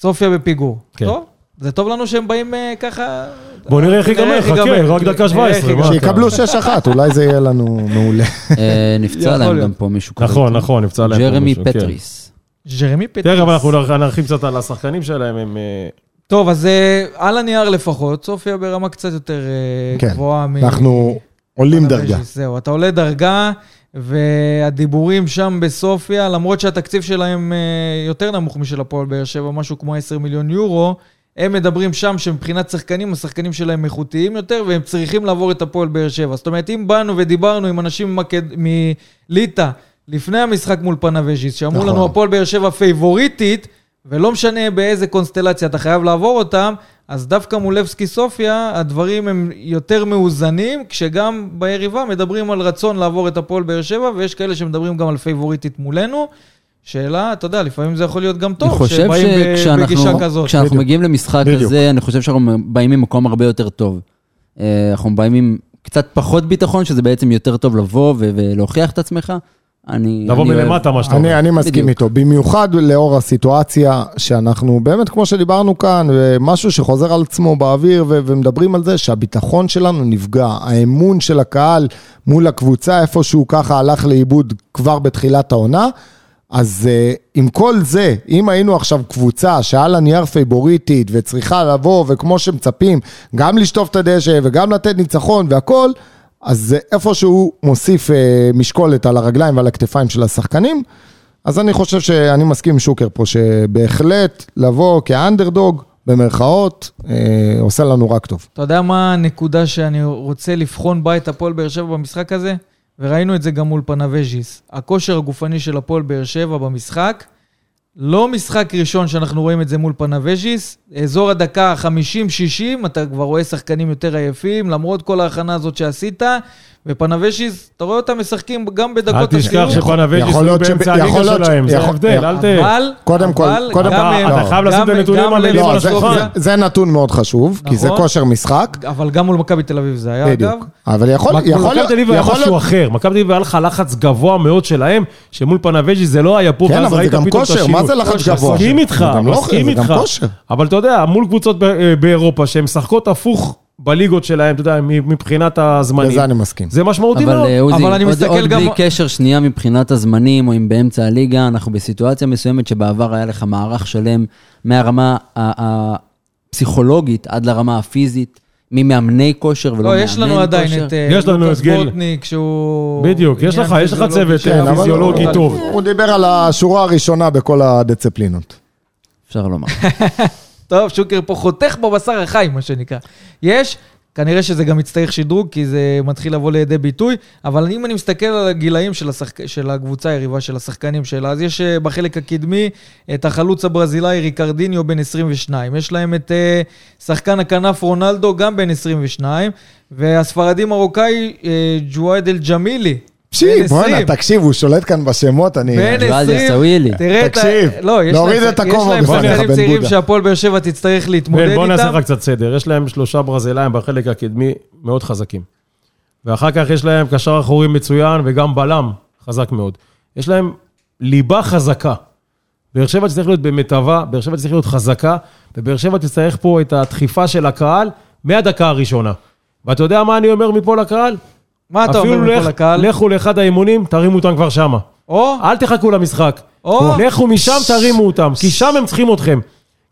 סופיה בפיגור.
כן.
טוב, זה טוב לנו שהם באים אה, ככה...
בוא נראה איך
נראה
ייגמר,
איך
חכה,
ייגמר.
רק
נראה
דקה
איך
17. מה
ייגמר.
אתה-
שיקבלו 6-1, אולי זה יהיה לנו מעולה.
אה, נפצע
יכול
להם
להיות.
גם פה מישהו כזה.
נכון, נכון, נפצע להם פה
ג'רמי
מישהו, כן.
פטריס.
ז'רמי פטריס.
תכף אנחנו נר- נרחיב קצת על השחקנים שלהם, הם... אה,
טוב, אז אה, על הנייר לפחות, סופיה ברמה קצת יותר אה,
כן,
גבוהה מ...
אנחנו עולים
אתה
דרגה.
רשיס, זהו, אתה עולה דרגה, והדיבורים שם בסופיה, למרות שהתקציב שלהם אה, יותר נמוך משל הפועל באר שבע, משהו כמו 10 מיליון יורו, הם מדברים שם שמבחינת שחקנים, השחקנים שלהם איכותיים יותר, והם צריכים לעבור את הפועל באר שבע. זאת אומרת, אם באנו ודיברנו עם אנשים ממקד- מליטא לפני המשחק מול פנאבז'יס, שאמרו
נכון.
לנו, הפועל באר שבע פייבוריטית, ולא משנה באיזה קונסטלציה אתה חייב לעבור אותם, אז דווקא מול לבסקי סופיה, הדברים הם יותר מאוזנים, כשגם ביריבה מדברים על רצון לעבור את הפועל באר שבע, ויש כאלה שמדברים גם על פייבוריטית מולנו. שאלה, אתה יודע, לפעמים זה יכול להיות גם
אני
טוב,
חושב
שבאים ב- בגישה
שכשאנחנו
כזאת.
כשאנחנו מגיעים למשחק
בדיוק.
הזה, אני חושב שאנחנו באים ממקום הרבה יותר טוב. אה, אנחנו באים עם קצת פחות ביטחון, שזה בעצם יותר טוב לבוא ו- ולהוכיח את עצמך. אני...
לבוא
אני אוהב-
מלמטה, מה שאתה אומר.
אני, אני מסכים
בדיוק.
איתו, במיוחד לאור הסיטואציה שאנחנו באמת, כמו שדיברנו כאן, משהו שחוזר על עצמו באוויר ו- ומדברים על זה שהביטחון שלנו נפגע, האמון של הקהל מול הקבוצה איפשהו ככה הלך לאיבוד כבר בתחילת העונה. אז uh, עם כל זה, אם היינו עכשיו קבוצה שעל הנייר פייבוריטית וצריכה לבוא, וכמו שמצפים, גם לשטוף את הדשא וגם לתת ניצחון והכול, אז זה איפשהו מוסיף uh, משקולת על הרגליים ועל הכתפיים של השחקנים. אז אני חושב שאני מסכים עם שוקר פה, שבהחלט לבוא כאנדרדוג, במרכאות, אה, עושה לנו רק טוב.
אתה יודע מה הנקודה שאני רוצה לבחון בה את הפועל באר שבע במשחק הזה? וראינו את זה גם מול פנאבז'יס. הכושר הגופני של הפועל באר שבע במשחק, לא משחק ראשון שאנחנו רואים את זה מול פנאבז'יס. אזור הדקה ה-50-60, אתה כבר רואה שחקנים יותר עייפים, למרות כל ההכנה הזאת שעשית, ופנבשיס, אתה רואה אותם משחקים גם
אל
בדקות
תשכח
הסיום.
שפנבג'יס
יכול
הוא
להיות
באמצע
שב-
הליגה
יכול להיות ש-
שלהם, זה
יכול-
ההבדל, אל ת...
אבל,
קודם כל-
אבל
קודם
גם
כל-
הם-
אתה
חייב לשים את
גם-
הנתונים
גם
המלאים
ללא
על
לא, זה,
השלוחה.
השולחן.
זה, זה נתון מאוד חשוב, כי זה
נכון.
כושר משחק,
אבל גם מול מכבי תל אביב זה היה, אגב.
בדיוק. אבל יכול
מכבי
יכול להיות...
תל אביב היה
יכול
משהו
להיות-
אחר, מכבי תל אביב היה לך לחץ גבוה מאוד שלהם, שמול פנבג'י זה לא היה פה,
כן,
ואז
אבל זה
ראית
גם
פתאום את
כושר, מה זה לחץ
כושר,
גבוה?
מסכים איתך,
זה גם לא-
מסכים
זה גם
איתך.
כושר.
אבל אתה יודע, מול קבוצות ב- אה, באירופה שהן משחקות הפוך בליגות שלהן, אתה יודע, מ- מבחינת הזמנים.
לזה אני מסכים.
זה משמעותי
אבל
מאוד.
אה, עוזי,
אבל אני
עוד-
מסתכל
עוד
גם-
בלי קשר שנייה מבחינת הזמנים, או אם באמצע הליגה, אנחנו בסיטואציה מסוימת שבעבר היה לך מערך שלם מהרמה ה- ה- הפסיכולוגית עד לרמה הפיזית, ממאמני כושר ולא מאמן
לא,
כושר.
יש לנו עדיין את אה,
יש לנו
לוקאס
את גיל.
בוטניק, שהוא...
בדיוק, יש
עניין
לך- יש לך
פיזיולוגי
צוות,
שהיה
אה,
לא?
מאוד
פיזיולוגי
מאוד
טוב.
כן, הוא דיבר על השורה הראשונה בכל הדציפלינות.
אפשר לומר.
טוב, שוקר פה חותך בבשר החי, מה שנקרא. יש, כנראה שזה גם יצטרך שדרוג, כי זה מתחיל לבוא לידי ביטוי, אבל אם אני מסתכל על הגילאים של, השחק... של הקבוצה היריבה, של השחקנים שלה, אז יש אה, בחלק הקדמי את החלוץ הברזילאי ריקרדיניו בן 22. יש להם את אה, שחקן הכנף רונלדו, גם בן 22, והספרדי מרוקאי אה, ג'ואד אל ג'מילי. בן
פשי,
20.
בואנה, תקשיב, הוא שולט כאן בשמות, אני...
בן
ג'ואל
20,
יסווילי.
תראה את ה...
תקשיב,
לא, יש
להוריד
להם-
את הכובע
יש
בפניך,
להם שחקנים
בן
צעירים
בודה.
שהפועל באר שבע תצטרך להתמודד
בן,
איתם.
בוא כן, נעשה לך קצת סדר. יש להם שלושה ברזילאים בחלק הקדמי מאוד חזקים. ואחר כך יש להם קשר אחורי מצוין וגם בלם חזק מאוד. יש להם ליבה חזקה. באר שבע תצטרך להיות במיטבה, באר שבע תצטרך להיות חזקה, ובאר שבע תצטרך פה את הדחיפה של הקהל מהדקה הראשונה. ואתה יודע מה אני אומר מפה לקהל?
מה אתה אומר
אפילו
מפה
לך- אה,
לקהל?
לכו לאחד האימונים, תרימו אותם כבר שמה.
או,
אל תחכו למשחק.
או.
לכו משם, תרימו אותם, כי שם הם צריכים אתכם.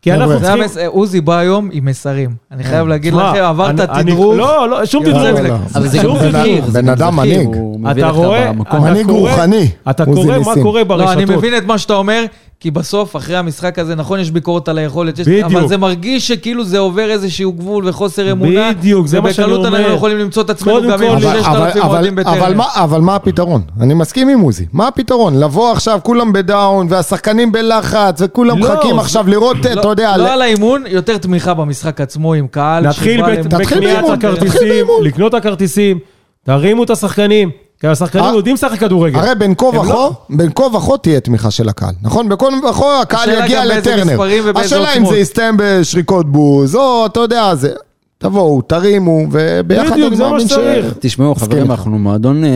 כי אנחנו
חבר'ה,
זה
צריכים...
המס- עוזי בא היום עם מסרים. אני חייב להגיד
אה, שמע,
לכם, עברת
אני- אני-
תדרוך.
לא, לא, שום
יאללה,
תדרוך.
וואלה.
אבל זה גם
שום
זכיר.
תדרוך.
זה גם
בן אדם
זכיר,
מנהיג.
הוא מביא
אתה
לך
רואה,
במקום.
מנהיג
אתה קורא-
רוחני,
אתה
עוזי
קורא מה
ניסים.
קורה
לא, אני
ברשתות.
מבין את מה שאתה אומר, כי בסוף, אחרי המשחק הזה, נכון, יש ביקורת על היכולת, יש-
בדיוק.
אבל זה מרגיש שכאילו זה עבר איזשהו גבול וחוסר אמונה.
בדיוק, זה מה שאני
ובקלות
אומר.
אנחנו יכולים למצוא את עצמנו
קודם
גם עם
כל,
אבל-
6,000
אבל-
אוהדים
אבל-
בטרם.
אבל מה- אבל מה הפתרון? אני מסכים עם עוזי. מה הפתרון? לבוא עכשיו, כולם בדאון, והשחקנים בלחץ, וכולם
לא,
מחכים
זה-
עכשיו לראות, אתה יודע,
לא
ל-
על האימון, יותר תמיכה במשחק עצמו עם קהל.
להתחיל
שבא
ב-
לאמון.
תתחיל
בקניית
באימון, תתחיל
הכרטיסים,
באימון.
לקנות את הכרטיסים, תרימו את השחקנים, כי השחקנים
אה,
יודעים לשחק כדורגל.
הרי בין כה
הם לא-
וכה, בין כה וכה תהיה תמיכה של הקהל, נכון? בין כה וכה הקהל
השאלה
יגיע
גם באיזה
לטרנר.
מספרים ובאיזה
השאלה אם
עוצמות.
זה יסתיים בשריקות בוז, או אתה יודע, זה... תבואו, תרימו, וביחד
בדיוק,
אני
זה מה
מאמין ש...
שצריך.
תשמעו,
מסכים
חברים,
איתך.
אנחנו מועדון אה,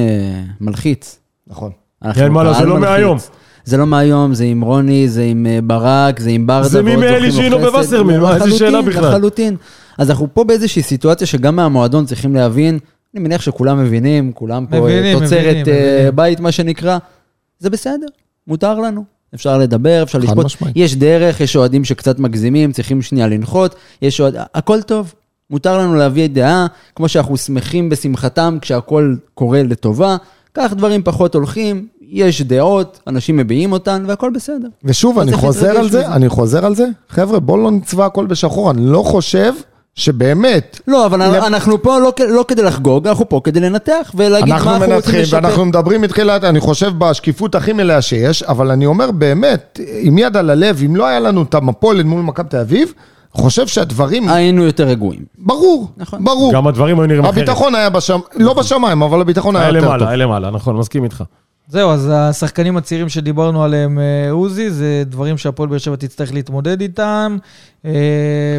מלחיץ.
נכון.
אנחנו
כן, מה לא, זה
קהל
לא
מלחיץ.
מהיום.
זה לא מהיום, זה עם רוני, זה עם אה, ברק, זה עם ברדה.
זה
ועוד
ממאלי
זוכים לו
שינו
חסד.
בווסרמן, מה, איזה שאלה
לחלוטין,
בכלל?
לחלוטין. אז אנחנו פה באיזושהי סיטואציה שגם מהמועדון צריכים להבין, אני מניח שכולם מבינים, כולם פה אה,
מבינים,
תוצרת
מבינים,
אה,
מבינים.
בית, מה שנקרא. זה בסדר, מותר לנו. אפשר לדבר, אפשר לשפוט.
משמעית.
יש דרך, יש אוהדים שקצת מגזימים, צריכים שנייה לנחות, יש אוהד... הכל טוב. מותר לנו להביא דעה, כמו שאנחנו שמחים בשמחתם כשהכול קורה לטובה. כך דברים פחות הולכים, יש דעות, אנשים מביעים אותן, והכל בסדר.
ושוב,
לא
אני
צריך
חוזר
להתרגש
על זה,
מזה.
אני חוזר על זה. חבר'ה, בואו לא נצבע הכל בשחור, אני לא חושב שבאמת...
לא, אבל
לב-
אנחנו פה לא, כ- לא כדי לחגוג, אנחנו פה כדי לנתח ולהגיד מה
אנחנו
אנחנו רוצים
מנתחים
לשפר.
ואנחנו מדברים מתחילת, אני חושב בשקיפות הכי מלאה שיש, אבל אני אומר באמת, עם יד על הלב, אם לא היה לנו את המפולת מול מכבי תל אביב, חושב שהדברים,
היינו יותר רגועים.
ברור,
נכון.
ברור.
גם הדברים היו נראים אחרת.
הביטחון היה בשמיים, לא בשמיים, אבל הביטחון היה
היה
יותר
למעלה,
טוב.
היה למעלה, נכון, מסכים איתך.
זהו, אז השחקנים הצעירים שדיברנו עליהם, אה, עוזי, זה דברים שהפועל באר שבע תצטרך להתמודד איתם, אה,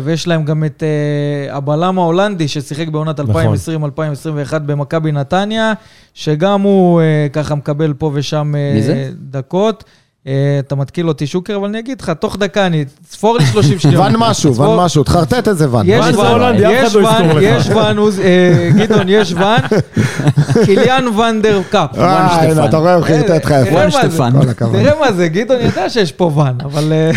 ויש להם גם את אה, הבלם ההולנדי ששיחק בעונת 2020-2021
נכון.
במכבי נתניה, שגם הוא אה, ככה מקבל פה ושם אה,
מי זה?
דקות. אה, אתה מתקיל אותי שוקר, אבל אני אגיד לך, תוך דקה אני... ספור לי 30 שניות.
ון משהו, ון
ספור-
משהו, תחרטט את זה ון.
יש
ון זה
ון,
הולנדי, אף אחד
יש
לא יזכור
ון,
לך.
יש ון, עוז- אה, גדעון, יש ון. קיליאן ונדר קאפ.
אה,
שטפן.
הנה, אתה רואה, הוא חרטט לך
תראה
יפה.
מה זה,
שטפן.
כל הכבוד.
תראה מה זה, גדעון ידע שיש פה ואן, אבל... אה,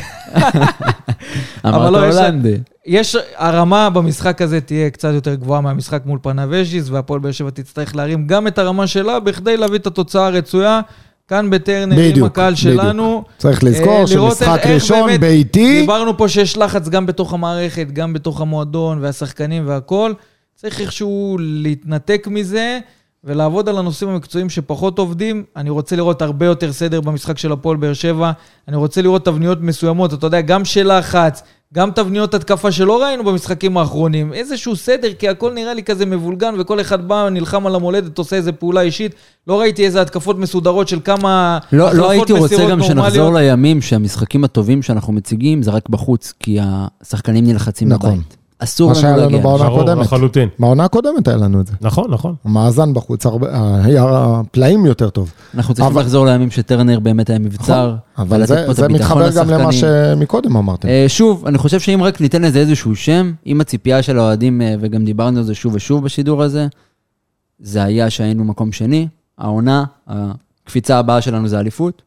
אמרת
לא, יש-
הולנדי.
יש, הרמה במשחק הזה תהיה קצת יותר גבוהה מהמשחק מול פנבז'יס, והפועל באר שבע תצטרך להרים גם את הרמה שלה בכדי להביא את התוצאה הרצויה. כאן בטרנר, עם
בדיוק,
הקהל
בדיוק.
שלנו.
צריך לזכור
אה, לראות
שמשחק
איך- איך
ראשון
באמת-
ביתי.
דיברנו פה שיש לחץ גם בתוך המערכת, גם בתוך המועדון והשחקנים והכול. צריך איכשהו להתנתק מזה ולעבוד על הנושאים המקצועיים שפחות עובדים. אני רוצה לראות הרבה יותר סדר במשחק של הפועל באר שבע. אני רוצה לראות תבניות מסוימות, אתה יודע, גם של לחץ, גם תבניות התקפה שלא ראינו במשחקים האחרונים, איזשהו סדר, כי הכל נראה לי כזה מבולגן, וכל אחד בא, נלחם על המולדת, עושה איזו פעולה אישית. לא ראיתי איזה התקפות מסודרות של כמה...
לא, לא
החלפות
הייתי רוצה
מסירות
גם
נורמליות.
שנחזור לימים שהמשחקים הטובים שאנחנו מציגים זה רק בחוץ, כי השחקנים נלחצים
נכון.
בבית. אסור
מה שהיה
לנו
לנו
להגיע.
בעונה
ברור,
הקודמת.
לחלוטין.
מהעונה הקודמת היה לנו את זה.
נכון, נכון.
המאזן בחוץ, הרבה- היה פלאים יותר טוב.
אנחנו צריכים
אבל- נכון,
לחזור לימים שטרנר באמת היה מבצר.
אבל
ולתת
זה,
פה את
זה
הביטחון
מתחבר גם למה
לשחקנים.
שמקודם אמרתם.
אה, שוב, אני חושב שאם רק ניתן לזה איזשהו שם, אם הציפייה של האוהדים, אה, וגם דיברנו על זה שוב ושוב בשידור הזה, זה היה שהיינו מקום שני, העונה, הקפיצה הבאה שלנו זה אליפות,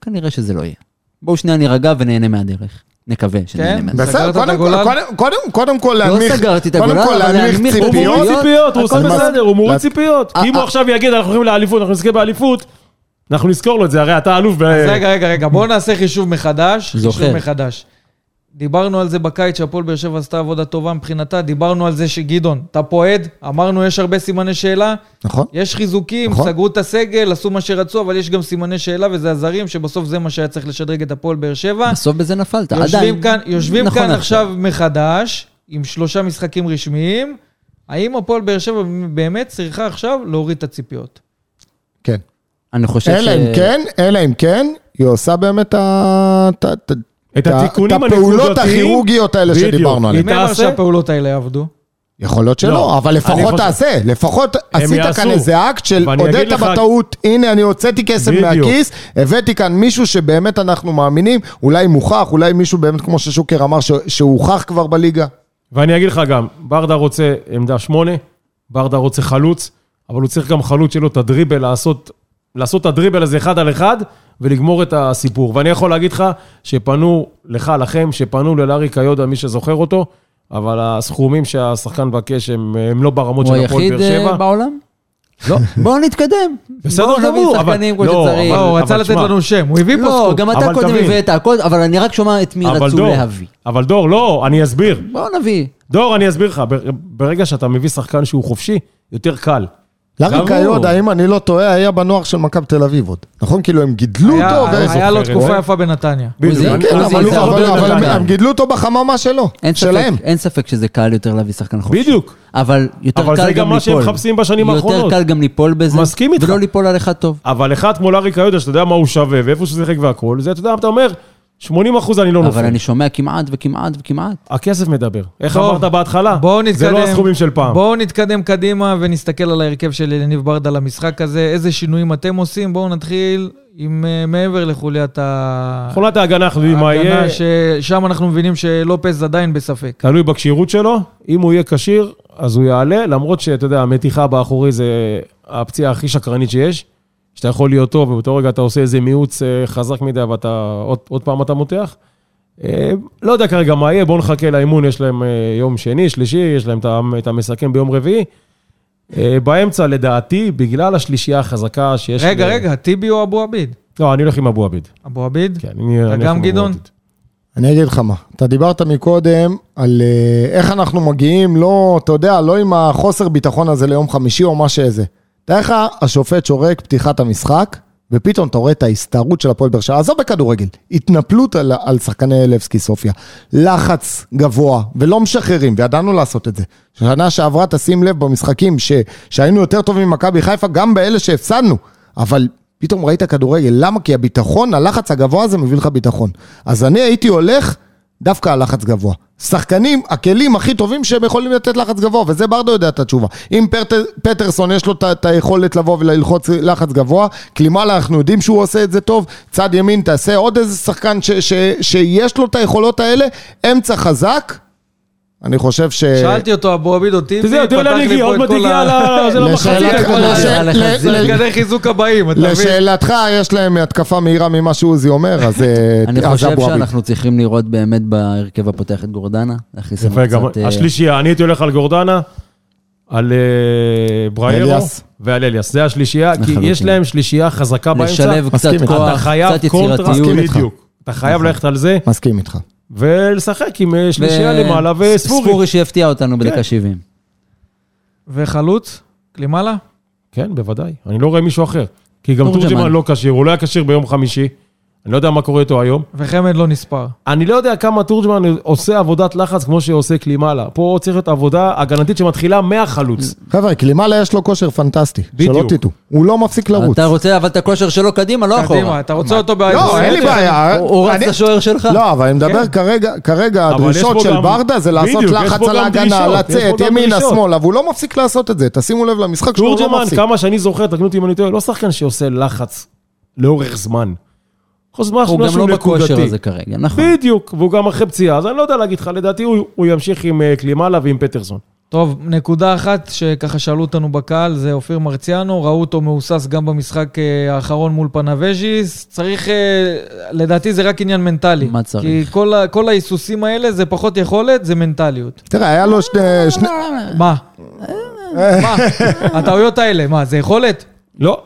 כנראה שזה לא יהיה. בואו שנייה נירגע ונהנה מהדרך. נקווה שנהנה
כן?
מהדרך.
סגרת
בסדר,
את
קודם כל,
הגולל?
קודם- קודם- קודם כל להנמיך,
לא סגרתי את
קודם
הגולל,
כל
אבל
להנמיך
להנמיך
הוא מוריד
ציפיות.
ציפיות,
ציפיות, הוא עושה
הכל
בסדר,
מס-
הוא מוריד
לת-
ציפיות.
אה,
כי אם הוא
אה.
עכשיו יגיד, אנחנו הולכים לאליפות, אנחנו נזכה באליפות, אנחנו נזכור לו את זה, הרי אתה אלוף ב...
אז רגע, רגע, רגע, בואו נעשה חישוב מחדש.
זוכר.
חישוב מחדש. דיברנו על זה בקיץ, שהפועל באר שבע עשתה עבודה טובה מבחינתה, דיברנו על זה שגדעון, אתה פועד, אמרנו יש הרבה סימני שאלה,
נכון.
יש חיזוקים,
נכון.
סגרו את הסגל, עשו מה שרצו, אבל יש גם סימני שאלה וזה הזרים, שבסוף זה מה שהיה צריך לשדרג את הפועל באר שבע.
בסוף בזה נפלת, עדיין.
יושבים כאן, יושבים
נכון
כאן עכשיו מחדש, עם שלושה משחקים רשמיים, האם הפועל באר שבע באמת צריכה עכשיו להוריד את הציפיות?
כן.
אני חושב ש...
אלא אם כן, אלא אם כן, היא עושה באמת את ה- את ה-
את התיקונים
הפעולות
הנקודתיים.
הכירורגיות האלה
בדיוק.
שדיברנו עליהן.
אם הם
תעשה?
שהפעולות האלה יעבדו?
יכול להיות
לא,
שלא, אבל
אני
לפחות
חושב-
תעשה, לפחות עשית
יעשו.
כאן איזה אקט של
ואני אגיד
הודית
לך-
בטעות, הנה אני הוצאתי כסף
בדיוק.
מהכיס, הבאתי כאן מישהו שבאמת אנחנו מאמינים, אולי מוכח, אולי מישהו באמת, כמו ששוקר אמר, ש- שהוא הוכח כבר בליגה.
ואני אגיד לך גם, ברדה רוצה עמדה שמונה, ברדה רוצה חלוץ, אבל הוא צריך גם חלוץ שלו את הדריבל לעשות, לעשות את הדריבל הזה אחד על אחד, ולגמור את הסיפור. ואני יכול להגיד לך שפנו לך, לכם, שפנו ללארי קיודה, מי שזוכר אותו, אבל הסכומים שהשחקן מבקש הם, הם לא ברמות
הוא
של הפועל
היחיד
באר
אה,
שבע.
בעולם? לא, בואו נתקדם.
בסדר
בואו נביא
גמור, אבל-
שחקנים כמו
לא,
שצריך.
לא, הוא
אבל
רצה לתת
תשמע,
לנו שם, הוא הביא פה
לא,
סקופ.
גם אתה
אבל
קודם
תבין.
הבאת הכל, אבל אני רק שומע את מי
אבל לא.
רצו
דור,
להביא.
אבל דור, לא, אני אסביר.
בואו נביא.
דור, אני אסביר לך, בר- ברגע שאתה מביא שחקן שהוא חופשי, יותר קל.
לארי
גם הוא.
קיודה, אם אני לא טועה, היה בנוער של מכבי תל אביב עוד. נכון? כאילו הם גידלו
היה-
אותו, ו-
היה לו
זוכר,
תקופה
אה?
יפה בנתניה.
עוזי,
בדיוק.
כן,
עוזי,
אבל הוא-
זה הרבה
אבל-
יותר
אבל הם-
קל.
הם גידלו אותו בחממה שלו,
אין ספק,
שלהם.
אין ספק שזה קל יותר להביא שחקן חופשי.
בדיוק.
אבל יותר
אבל
קל גם ליפול.
זה גם מה שהם מחפשים בשנים האחרונות.
יותר קל גם ליפול בזה.
מסכים איתך.
ולא ליפול על אחד טוב.
אבל אחד כמו לארי קיודה, שאתה יודע מה הוא שווה, ואיפה שהוא שיחק והכול, זה אתה יודע, אתה אומר, 80 אחוז אני לא נופל.
אבל אני שומע כמעט וכמעט וכמעט.
הכסף מדבר. איך
טוב,
אמרת בהתחלה?
בואו נתקדם.
זה לא הסכומים של פעם.
בואו נתקדם קדימה ונסתכל על ההרכב של יניב ברדה למשחק הזה. איזה שינויים אתם עושים? בואו נתחיל עם אה, מעבר לחוליית ה...
חולת ההגנה, אנחנו לא יודעים מה יהיה, כן,
ההגנה, ששם אנחנו מבינים שלופז עדיין בספק.
תלוי בכשירות שלו. אם הוא יהיה כשיר, אז הוא יעלה, למרות שאתה יודע, המתיחה באחורי זה הפציעה הכי שקרנית שיש. שאתה יכול להיות טוב, ובאותו רגע אתה עושה איזה מיעוץ אה, חזק מדי, ואתה, עוד, עוד פעם אתה מותח. אה, לא יודע כרגע מה יהיה, בואו נחכה לאימון, יש להם אה, יום שני, שלישי, יש להם את ה- את המסכם ביום רביעי. אה, באמצע, לדעתי, בגלל השלישייה החזקה שיש...
רגע,
ל-
רגע, טיבי או אבו עביד?
לא, אני הולך עם אבו עביד.
אבו עביד?
כן, אני...
אתה
אני
גם
הולך עם אבו
גדעון?
עביד.
אני אגיד לך מה, אתה דיברת מקודם על אה, איך אנחנו מגיעים, לא, אתה יודע, לא עם החוסר ביטחון הזה ליום חמישי או מה שזה. תאר לך, השופט שורק פתיחת המשחק, ופתאום אתה רואה את ההסתערות של הפועל באר שבע, עזוב בכדורגל, התנפלות על, על שחקני לבסקי סופיה, לחץ גבוה, ולא משחררים, וידענו לעשות את זה. שנה שעברה, תשים לב, במשחקים ש, שהיינו יותר טובים ממכבי חיפה, גם באלה שהפסדנו, אבל פתאום ראית כדורגל, למה? כי הביטחון, הלחץ הגבוה הזה מביא לך ביטחון. אז אני הייתי הולך דווקא על לחץ גבוה. שחקנים, הכלים הכי טובים שהם יכולים לתת לחץ גבוה, וזה ברדו יודע את התשובה. אם פרט, פטרסון יש לו את ה- את היכולת לבוא וללחוץ לחץ גבוה, קלימאלה אנחנו יודעים שהוא עושה את זה טוב, צד ימין תעשה עוד איזה שחקן ש, ש, שיש לו את היכולות האלה, אמצע חזק, אני חושב ש...
שאלתי אותו, אבו עביד או טיבי?
זהו, תראה
פתח
לאן
לי פה
הגיע, עוד
את
מעט
כל
הגיע
ה-
ל... זה לא למחצית.
לשאלתך-
כבר
לש-
היה לך
ל-
זיק.
ל-
לגדי חיזוק הבאים, אתה מבין?
לשאלתך, יש להם התקפה מהירה ממה שעוזי אומר, אז אה,
אני
אז
חושב
אבו עביד.
שאנחנו צריכים לראות באמת בהרכב הפותח את גורדנה. להכניס לנו
יפה, גם
קצת, אה,
השלישייה, אני הייתי הולך על גורדנה, על אה, בריירו
אליאס.
ועל אליאס. זה השלישייה, כי
לחלוטין.
יש להם שלישייה חזקה באמצע.
לשלב קצת
מסכים איתך.
כוח,
אתה חייב
קצת
קונטרה,
יצירתיות.
בדיוק. אתה חייב ללכת על זה,
מסכים איתך.
ולשחק עם אה, שלישייה
ו-
למעלה וספורי.
ספורי שיפתיע אותנו
כן.
בדקה 70.
וחלוץ? קלימאלה?
כן, בוודאי. אני לא רואה מישהו אחר. כי גם
תורג'מן.
תורג'מן לא כשיר, הוא לא היה כשיר ביום חמישי. אני לא יודע מה קורה איתו היום.
וחמד לא נספר.
אני לא יודע כמה תורג'מן עושה עבודת לחץ כמו שעושה קלימאלה. פה צריך להיות עבודה הגנתית שמתחילה מהחלוץ.
חבר'ה, קלימאלה יש לו כושר פנטסטי, שלא
בדיוק.
תטעו. הוא לא מפסיק לרוץ.
אתה רוצה אבל את הכושר שלו קדימה, לא
קדימה,
אחורה.
אתה רוצה אותו בעיה.
לא, אין לי בעיה.
הוא- הוא רץ
אני-
לשוער שלך.
לא, אבל אני מדבר
כן.
כרגע, כרגע
אבל יש
הדרישות
פה
של
גם-
ברדה זה לעשות
בדיוק, יש
לחץ
פה
על
גם
ההגנה,
דרישות, יש פה
לצאת
גם
ימינה,
דרישות.
שמאלה, והוא לא מפסיק לעשות את זה. תשימו לב למשחק שלו, הוא לא
תורג'מן,
מפסיק.
כמה שאני זוכר, תקנו אותי אם אני טועה, לא שחקן שעושה לחץ לאורך זמן. כל זמן
הוא גם
משהו
לא בכושר
נקודתי.
הזה כרגע, נכון.
בדיוק, והוא גם אחרי פציעה, אז אני לא יודע להגיד לך, לדעתי הוא הוא ימשיך עם אה, קלימאלה ועם פטרסון.
טוב, נקודה אחת שככה שאלו אותנו בקהל, זה אופיר מרציאנו, ראו אותו מהוסס גם במשחק אה, האחרון מול פנאבז'יס. צריך, אה, לדעתי זה רק עניין מנטלי.
מה צריך?
כי כל ה- כל ההיסוסים האלה זה פחות יכולת, זה מנטליות.
תראה, היה לו
אה,
שני... שני-
אה.
מה?
אה.
מה? הטעויות האלה, מה, זה יכולת?
לא.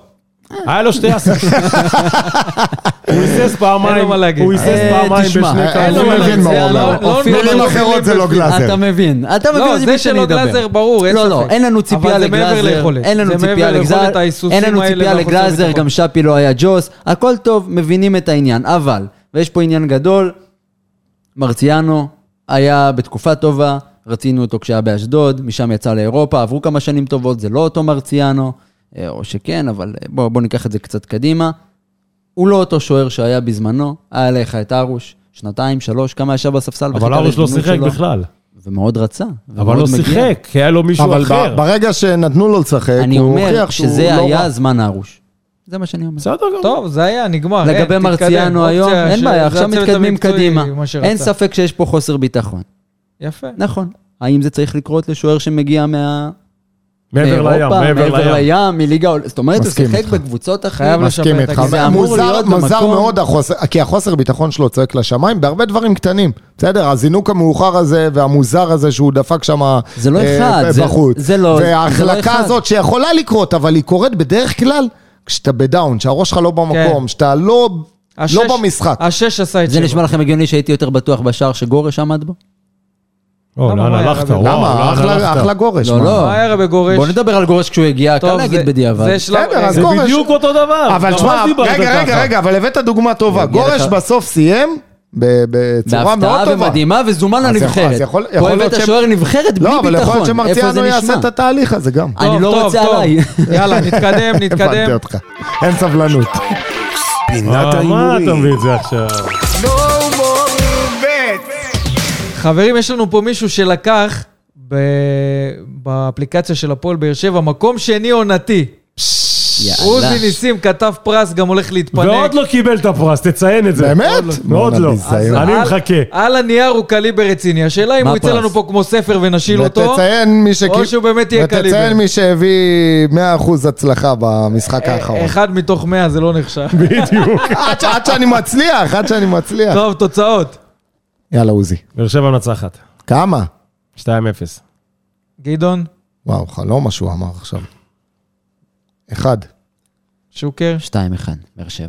היה לו שתי הסס. הוא היסס פעמיים,
אין לו מה להגיד.
הוא היסס
אה,
פעמיים
תשמע,
בשני
אין
לו
קרבים.
מה להגיד. מבין
זה
מה הוא
לא-
אומר.
לא-
אופיר,
לא-
מילים
לא-
אחרות זה לא גלאזר.
אתה מבין, אתה מבין
לא,
את
זה
מי שאני
שלא
אדבר.
גלאזר ברור, אין
לא, לא,
ספק.
אין לנו ציפייה
אבל זה מעבר
לגלאזר,
ליכולת.
אין לנו
זה
ציפייה
מעבר
לגלאזר,
ליכולת, ההיסוסים
אין לנו
האלה
ציפייה
והחוסר
לגלאזר,
ביטחון.
גם שפי לא היה ג'וס, הכל טוב, מבינים את העניין, אבל, ויש פה עניין גדול, מרציאנו היה בתקופה טובה, רצינו אותו כשהיה באשדוד, משם יצא לאירופה, עברו כמה שנים טובות, זה לא אותו מרציאנו, אה, או שכן, אבל אה, בוא, בוא ניקח את זה קצת קדימה. הוא לא אותו שוער שהיה בזמנו, היה לך את ארוש, שנתיים, שלוש, כמה ישב בספסל. וחיכה
אבל ארוש לא
להזדמנות
שיחק
שלו.
בכלל.
ומאוד רצה.
אבל
ומאוד
לא
מגיע.
שיחק, כי היה לו מישהו
אבל
אחר.
ב- ברגע שנתנו לו לשחק,
אני
אה, הוא
אומר
הוכיח שהוא לא...
שזה
רע.
היה זמן ארוש. זה מה שאני אומר.
בסדר גמור.
טוב, זה היה, נגמר. אין,
לגבי
אה, תתקדם.
מרציאנו
אופציה
היום, אין
של-
בעיה,
זה
עכשיו
הצוות
מתקדמים
המקצועי,
קדימה.
מה שרצה.
אין ספק שיש פה חוסר ביטחון.
יפה.
נכון. האם זה צריך לקרות לשוער שמגיע מה...
מעבר לים,
מאירופה,
מעבר לים.
מליגה... עול- זאת אומרת, הוא
מסכים
שיחק
איתך.
בקבוצות אחרות.
חייב לשפר
מסכים
את
איתך,
הגנה.
זה אמור
מוזר,
להיות
מוזר
במקום-
מאוד, החוסר, כי החוסר ביטחון שלו צועק לשמיים בהרבה דברים קטנים. בסדר, הזינוק המאוחר הזה והמוזר הזה שהוא דפק שם אה,
זה לא אחד, זה-
בחוץ.
זה לא- זה לא
וההחלקה
אחד.
הזאת שיכולה לקרות, אבל היא קורית בדרך כלל כשאתה בדאון, שהראש שלך לא במקום,
כן.
שאתה לא,
השש-
לא במשחק.
השש עשה את
זה
שלו.
נשמע לכם הגיוני שהייתי יותר בטוח בשער שגורש עמד בו?
או,
למה
לאן
מה היה
הלכת?
רבי?
וואו, לא,
למה?
לאן
אחלה,
הלכת?
אחלה גורש.
לא,
מה?
לא.
מה היה רבי גורש?
בואו נדבר על גורש כשהוא הגיע, קל
טוב,
להגיד
זה-
בדיאבד.
זה שלב...
בסדר, אז
זה-
זה
גורש.
בדיוק אותו דבר.
אבל
ממש
תשמע,
דיברנו
רגע, רגע,
ככה.
רגע, אבל הבאת דוגמה טובה.
יגיע
גורש
לך.
בסוף סיים ב- בצורה מאוד
לא
בהפתעה
טובה.
ומדהימה, וזומן
אז יכול-
לנבחרת.
אז יכול- יכול
פה
להיות
הבאת
ש-
שוער נבחרת בלי
לא, אבל יכול להיות
ביטחון. איפה זה
שמרציאנו יעשה
נשמע?
את התהליך הזה גם.
אני
טוב,
לא
טוב,
רוצה
טוב.
עליי.
יאללה, נתקדם,
הבנתי
נתקדם.
אותך. אין סבלנות.
פינת
אה, מה אתה
ההימורים.
מביא את זה עכשיו?
חברים, יש לנו פה מישהו שלקח ב- באפליקציה של הפועל באר שבע, מקום שני עונתי.
יאללה.
עוזי ניסים כתב פרס, גם הולך להתפנק.
ועוד לא קיבל את הפרס, תציין את זה.
באמת?
מאוד
בואנה,
לא.
ביזיון.
אני
על-
מחכה.
על הנייר הוא קליבר רציני. השאלה אם
מה
הוא יצא
הפרס?
לנו פה כמו ספר ונשיל אותו.
ותציין מי שקיב-
לא או שהוא באמת יהיה קליבר. אה,
ותציין מי שהביא 100% הצלחה במשחק האחרון.
אחד מתוך מאה זה לא נחשב.
עד ש- עד שאני מצליח, עד שאני מצליח.
אה. טוב, תוצאות.
יאללה, עוזי.
באר שבע מנצחת.
כמה?
2-0.
גדעון,
וואו, חלום מה שהוא אמר עכשיו. אחד.
שוקר.
2-1, באר שבע.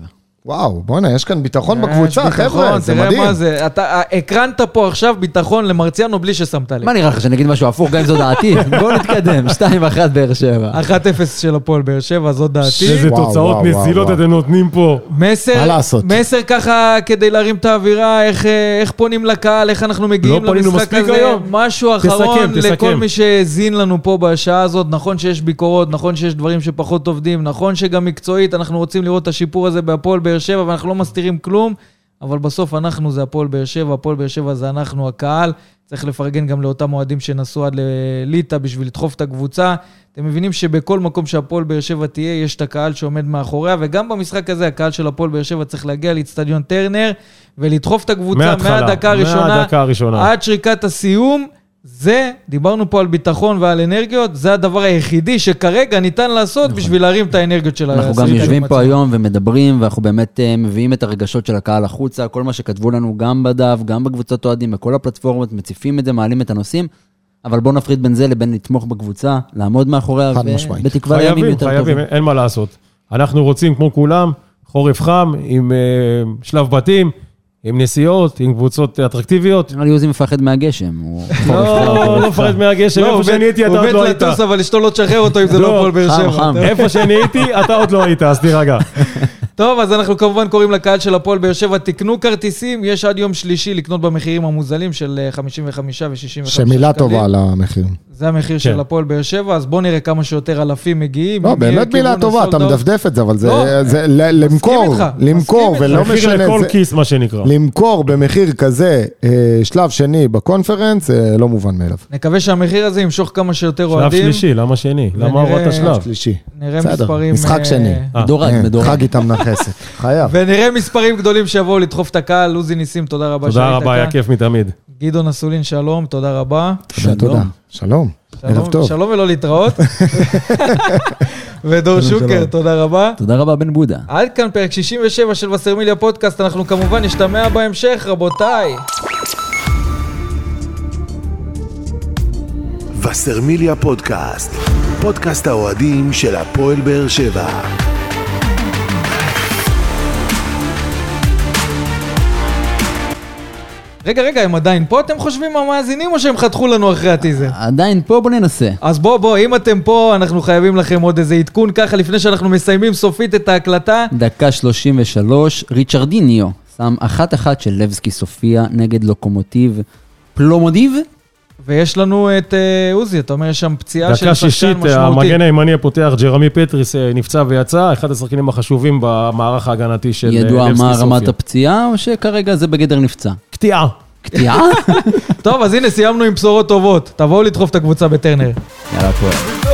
וואו, בואנה, יש כאן ביטחון
יש
בקבוצה,
אה, ביטחון,
חבר'ה, זה
תראה
מדהים.
מה זה, אתה אה, הקרנת פה עכשיו ביטחון למרציאנו בלי ששמת לב.
מה נראה לך, שאני אגיד משהו הפוך, גם אם זו דעתי? בואו נתקדם, 2-1 באר שבע.
1-0 של הפועל באר שבע, זאת דעתי.
איזה
וואו,
תוצאות
וואו,
נזילות
וואו.
אתם נותנים פה.
מסר,
מה לעשות?
מסר ככה כדי להרים את האווירה, איך, אה, איך פונים לקהל, איך אנחנו מגיעים
לא פנינו
למשחק
מספיק
הזה.
היום?
משהו
תסכם,
אחרון
תסכם.
לכל מי שהאזין לנו פה בשעה הזאת. נכון שיש ביקורות, נכון שיש דברים שפחות עובדים, נכון שגם מקצועית אנחנו רוצים לראות את השיפור הזה בהפועל באר שבע, ואנחנו לא מסתירים כלום, אבל בסוף אנחנו זה הפועל באר שבע, הפועל באר שבע זה אנחנו, הקהל. צריך לפרגן גם לאותם אוהדים שנסעו עד לליטא בשביל לדחוף את הקבוצה. אתם מבינים שבכל מקום שהפועל באר שבע תהיה, יש את הקהל שעומד מאחוריה, וגם במשחק הזה הקהל של הפועל באר שבע צריך להגיע לאיצטדיון טרנר ולדחוף את הקבוצה
מההתחלה,
מהדקה הראשונה
מהדקה הראשונה.
עד שריקת הסיום. זה, דיברנו פה על ביטחון ועל אנרגיות, זה הדבר היחידי שכרגע ניתן לעשות
נכון.
בשביל להרים את האנרגיות של
אנחנו גם
השחקנים
יושבים פה
עצמם.
היום ומדברים, ואנחנו באמת אה, מביאים את הרגשות של הקהל החוצה, כל מה שכתבו לנו גם בדף, גם בקבוצות אוהדים, בכל הפלטפורמות, מציפים את זה, מעלים את הנושאים, אבל בואו נפריד בין זה לבין לתמוך בקבוצה, לעמוד מאחוריה,
חד
ו-
משמעית.
בתקווה לימים
חייבים,
יותר
חייבים,
טובים.
אין מה לעשות. אנחנו רוצים, כמו כולם, חורף חם, עם אה, שלב בתים, עם נסיעות, עם קבוצות אטרקטיביות.
נראה לי עוזי מפחד מהגשם, הוא
לא, לא מפחד מהגשם,
הוא
איפה
מת-
שאני הייתי אתה
הוא
עוד
מת
לא היית.
לטוס, אבל אשתו לא תשחרר אותו אם זה
לא,
לא הפועל באר
חם,
שבע.
חם.
איפה שאני הייתי, אתה עוד לא היית, אז תירגע.
טוב, אז אנחנו כמובן קוראים לקהל של הפועל באר שבע, תקנו כרטיסים, יש עד יום שלישי לקנות במחירים המוזלים של אה, 55 ו-65 שקלים.
שמילה טובה על המחיר. לא,
זה המחיר
כן.
של הפועל באר שבע, אז בואו נראה כמה שיותר אלפים מגיעים.
לא,
אם יהיה
באמת מילה
כיוון
טובה,
הסולד
אתה
אאוט-
מדפדף את זה, אבל
לא,
זה- זה ל- למכור,
איתך,
למכור,
מסכים
ולא
איתך.
מחיר
לא משנה,
לכל
זה-
כיס, מה שנקרא.
לא.
למכור במחיר כזה אה, שלב שני בקונפרנס, זה לא מובן מאליו.
נקווה שהמחיר הזה ימשוך כמה שיותר
שלב
אוהדים.
שלישי, למה שני? למה
ונראה-
הורדת
אה,
שלב?
שלישי.
נראה
בסדר,
מספרים...
משחק
אה,
שני.
מדורג,
כן,
מדורג.
חג איתם נכסת, חייב.
ונראה מספרים גדולים שיבואו לדחוף את הקהל. עוזי ניסים, תודה רבה
תודה
שהיית
רבה, היה
כאן.
כיף מתמיד.
גדעון אסולין, שלום, תודה רבה.
תודה. שלום, ערב
שלום-
טוב.
שלום ולא להתראות. ודור שוקר, תודה רבה.
תודה רבה, בן בודה.
עד כאן פרק 67 של וסרמיליה פודקאסט, אנחנו כמובן נשתמע בהמשך, רבותיי.
וסרמיליה פודקאסט, פודקאסט האוהדים של הפועל באר שבע.
רגע, רגע, הם עדיין פה, אתם חושבים המאזינים, או שהם חתכו לנו אחרי הטיזר?
עדיין פה, בוא ננסה.
אז בוא, בוא, אם אתם פה, אנחנו חייבים לכם עוד איזה עדכון ככה, לפני שאנחנו מסיימים סופית את ההקלטה.
דקה 33, ריצ'רדיניו שם אחת אחת של לבסקי סופיה נגד לוקומוטיב פלומודיב.
ויש לנו את אה, עוזי, אתה אומר, יש שם פציעה של
דקה
שחקן
שישית, אה,
משמעותי.
המגן הימני הפותח, ג'רמי פטריס, אה, נפצע ויצא, אחד השחקנים החשובים במערך ההגנתי של אה, לבסקי סופיה.
ידוע מה רמת הפציעה, או שכרגע זה בגדר נפצע?
קטיעה.
קטיעה?
טוב, אז הנה, סיימנו עם בשורות טובות. תבואו לדחוף את הקבוצה בטרנר.
יאללה, פועל.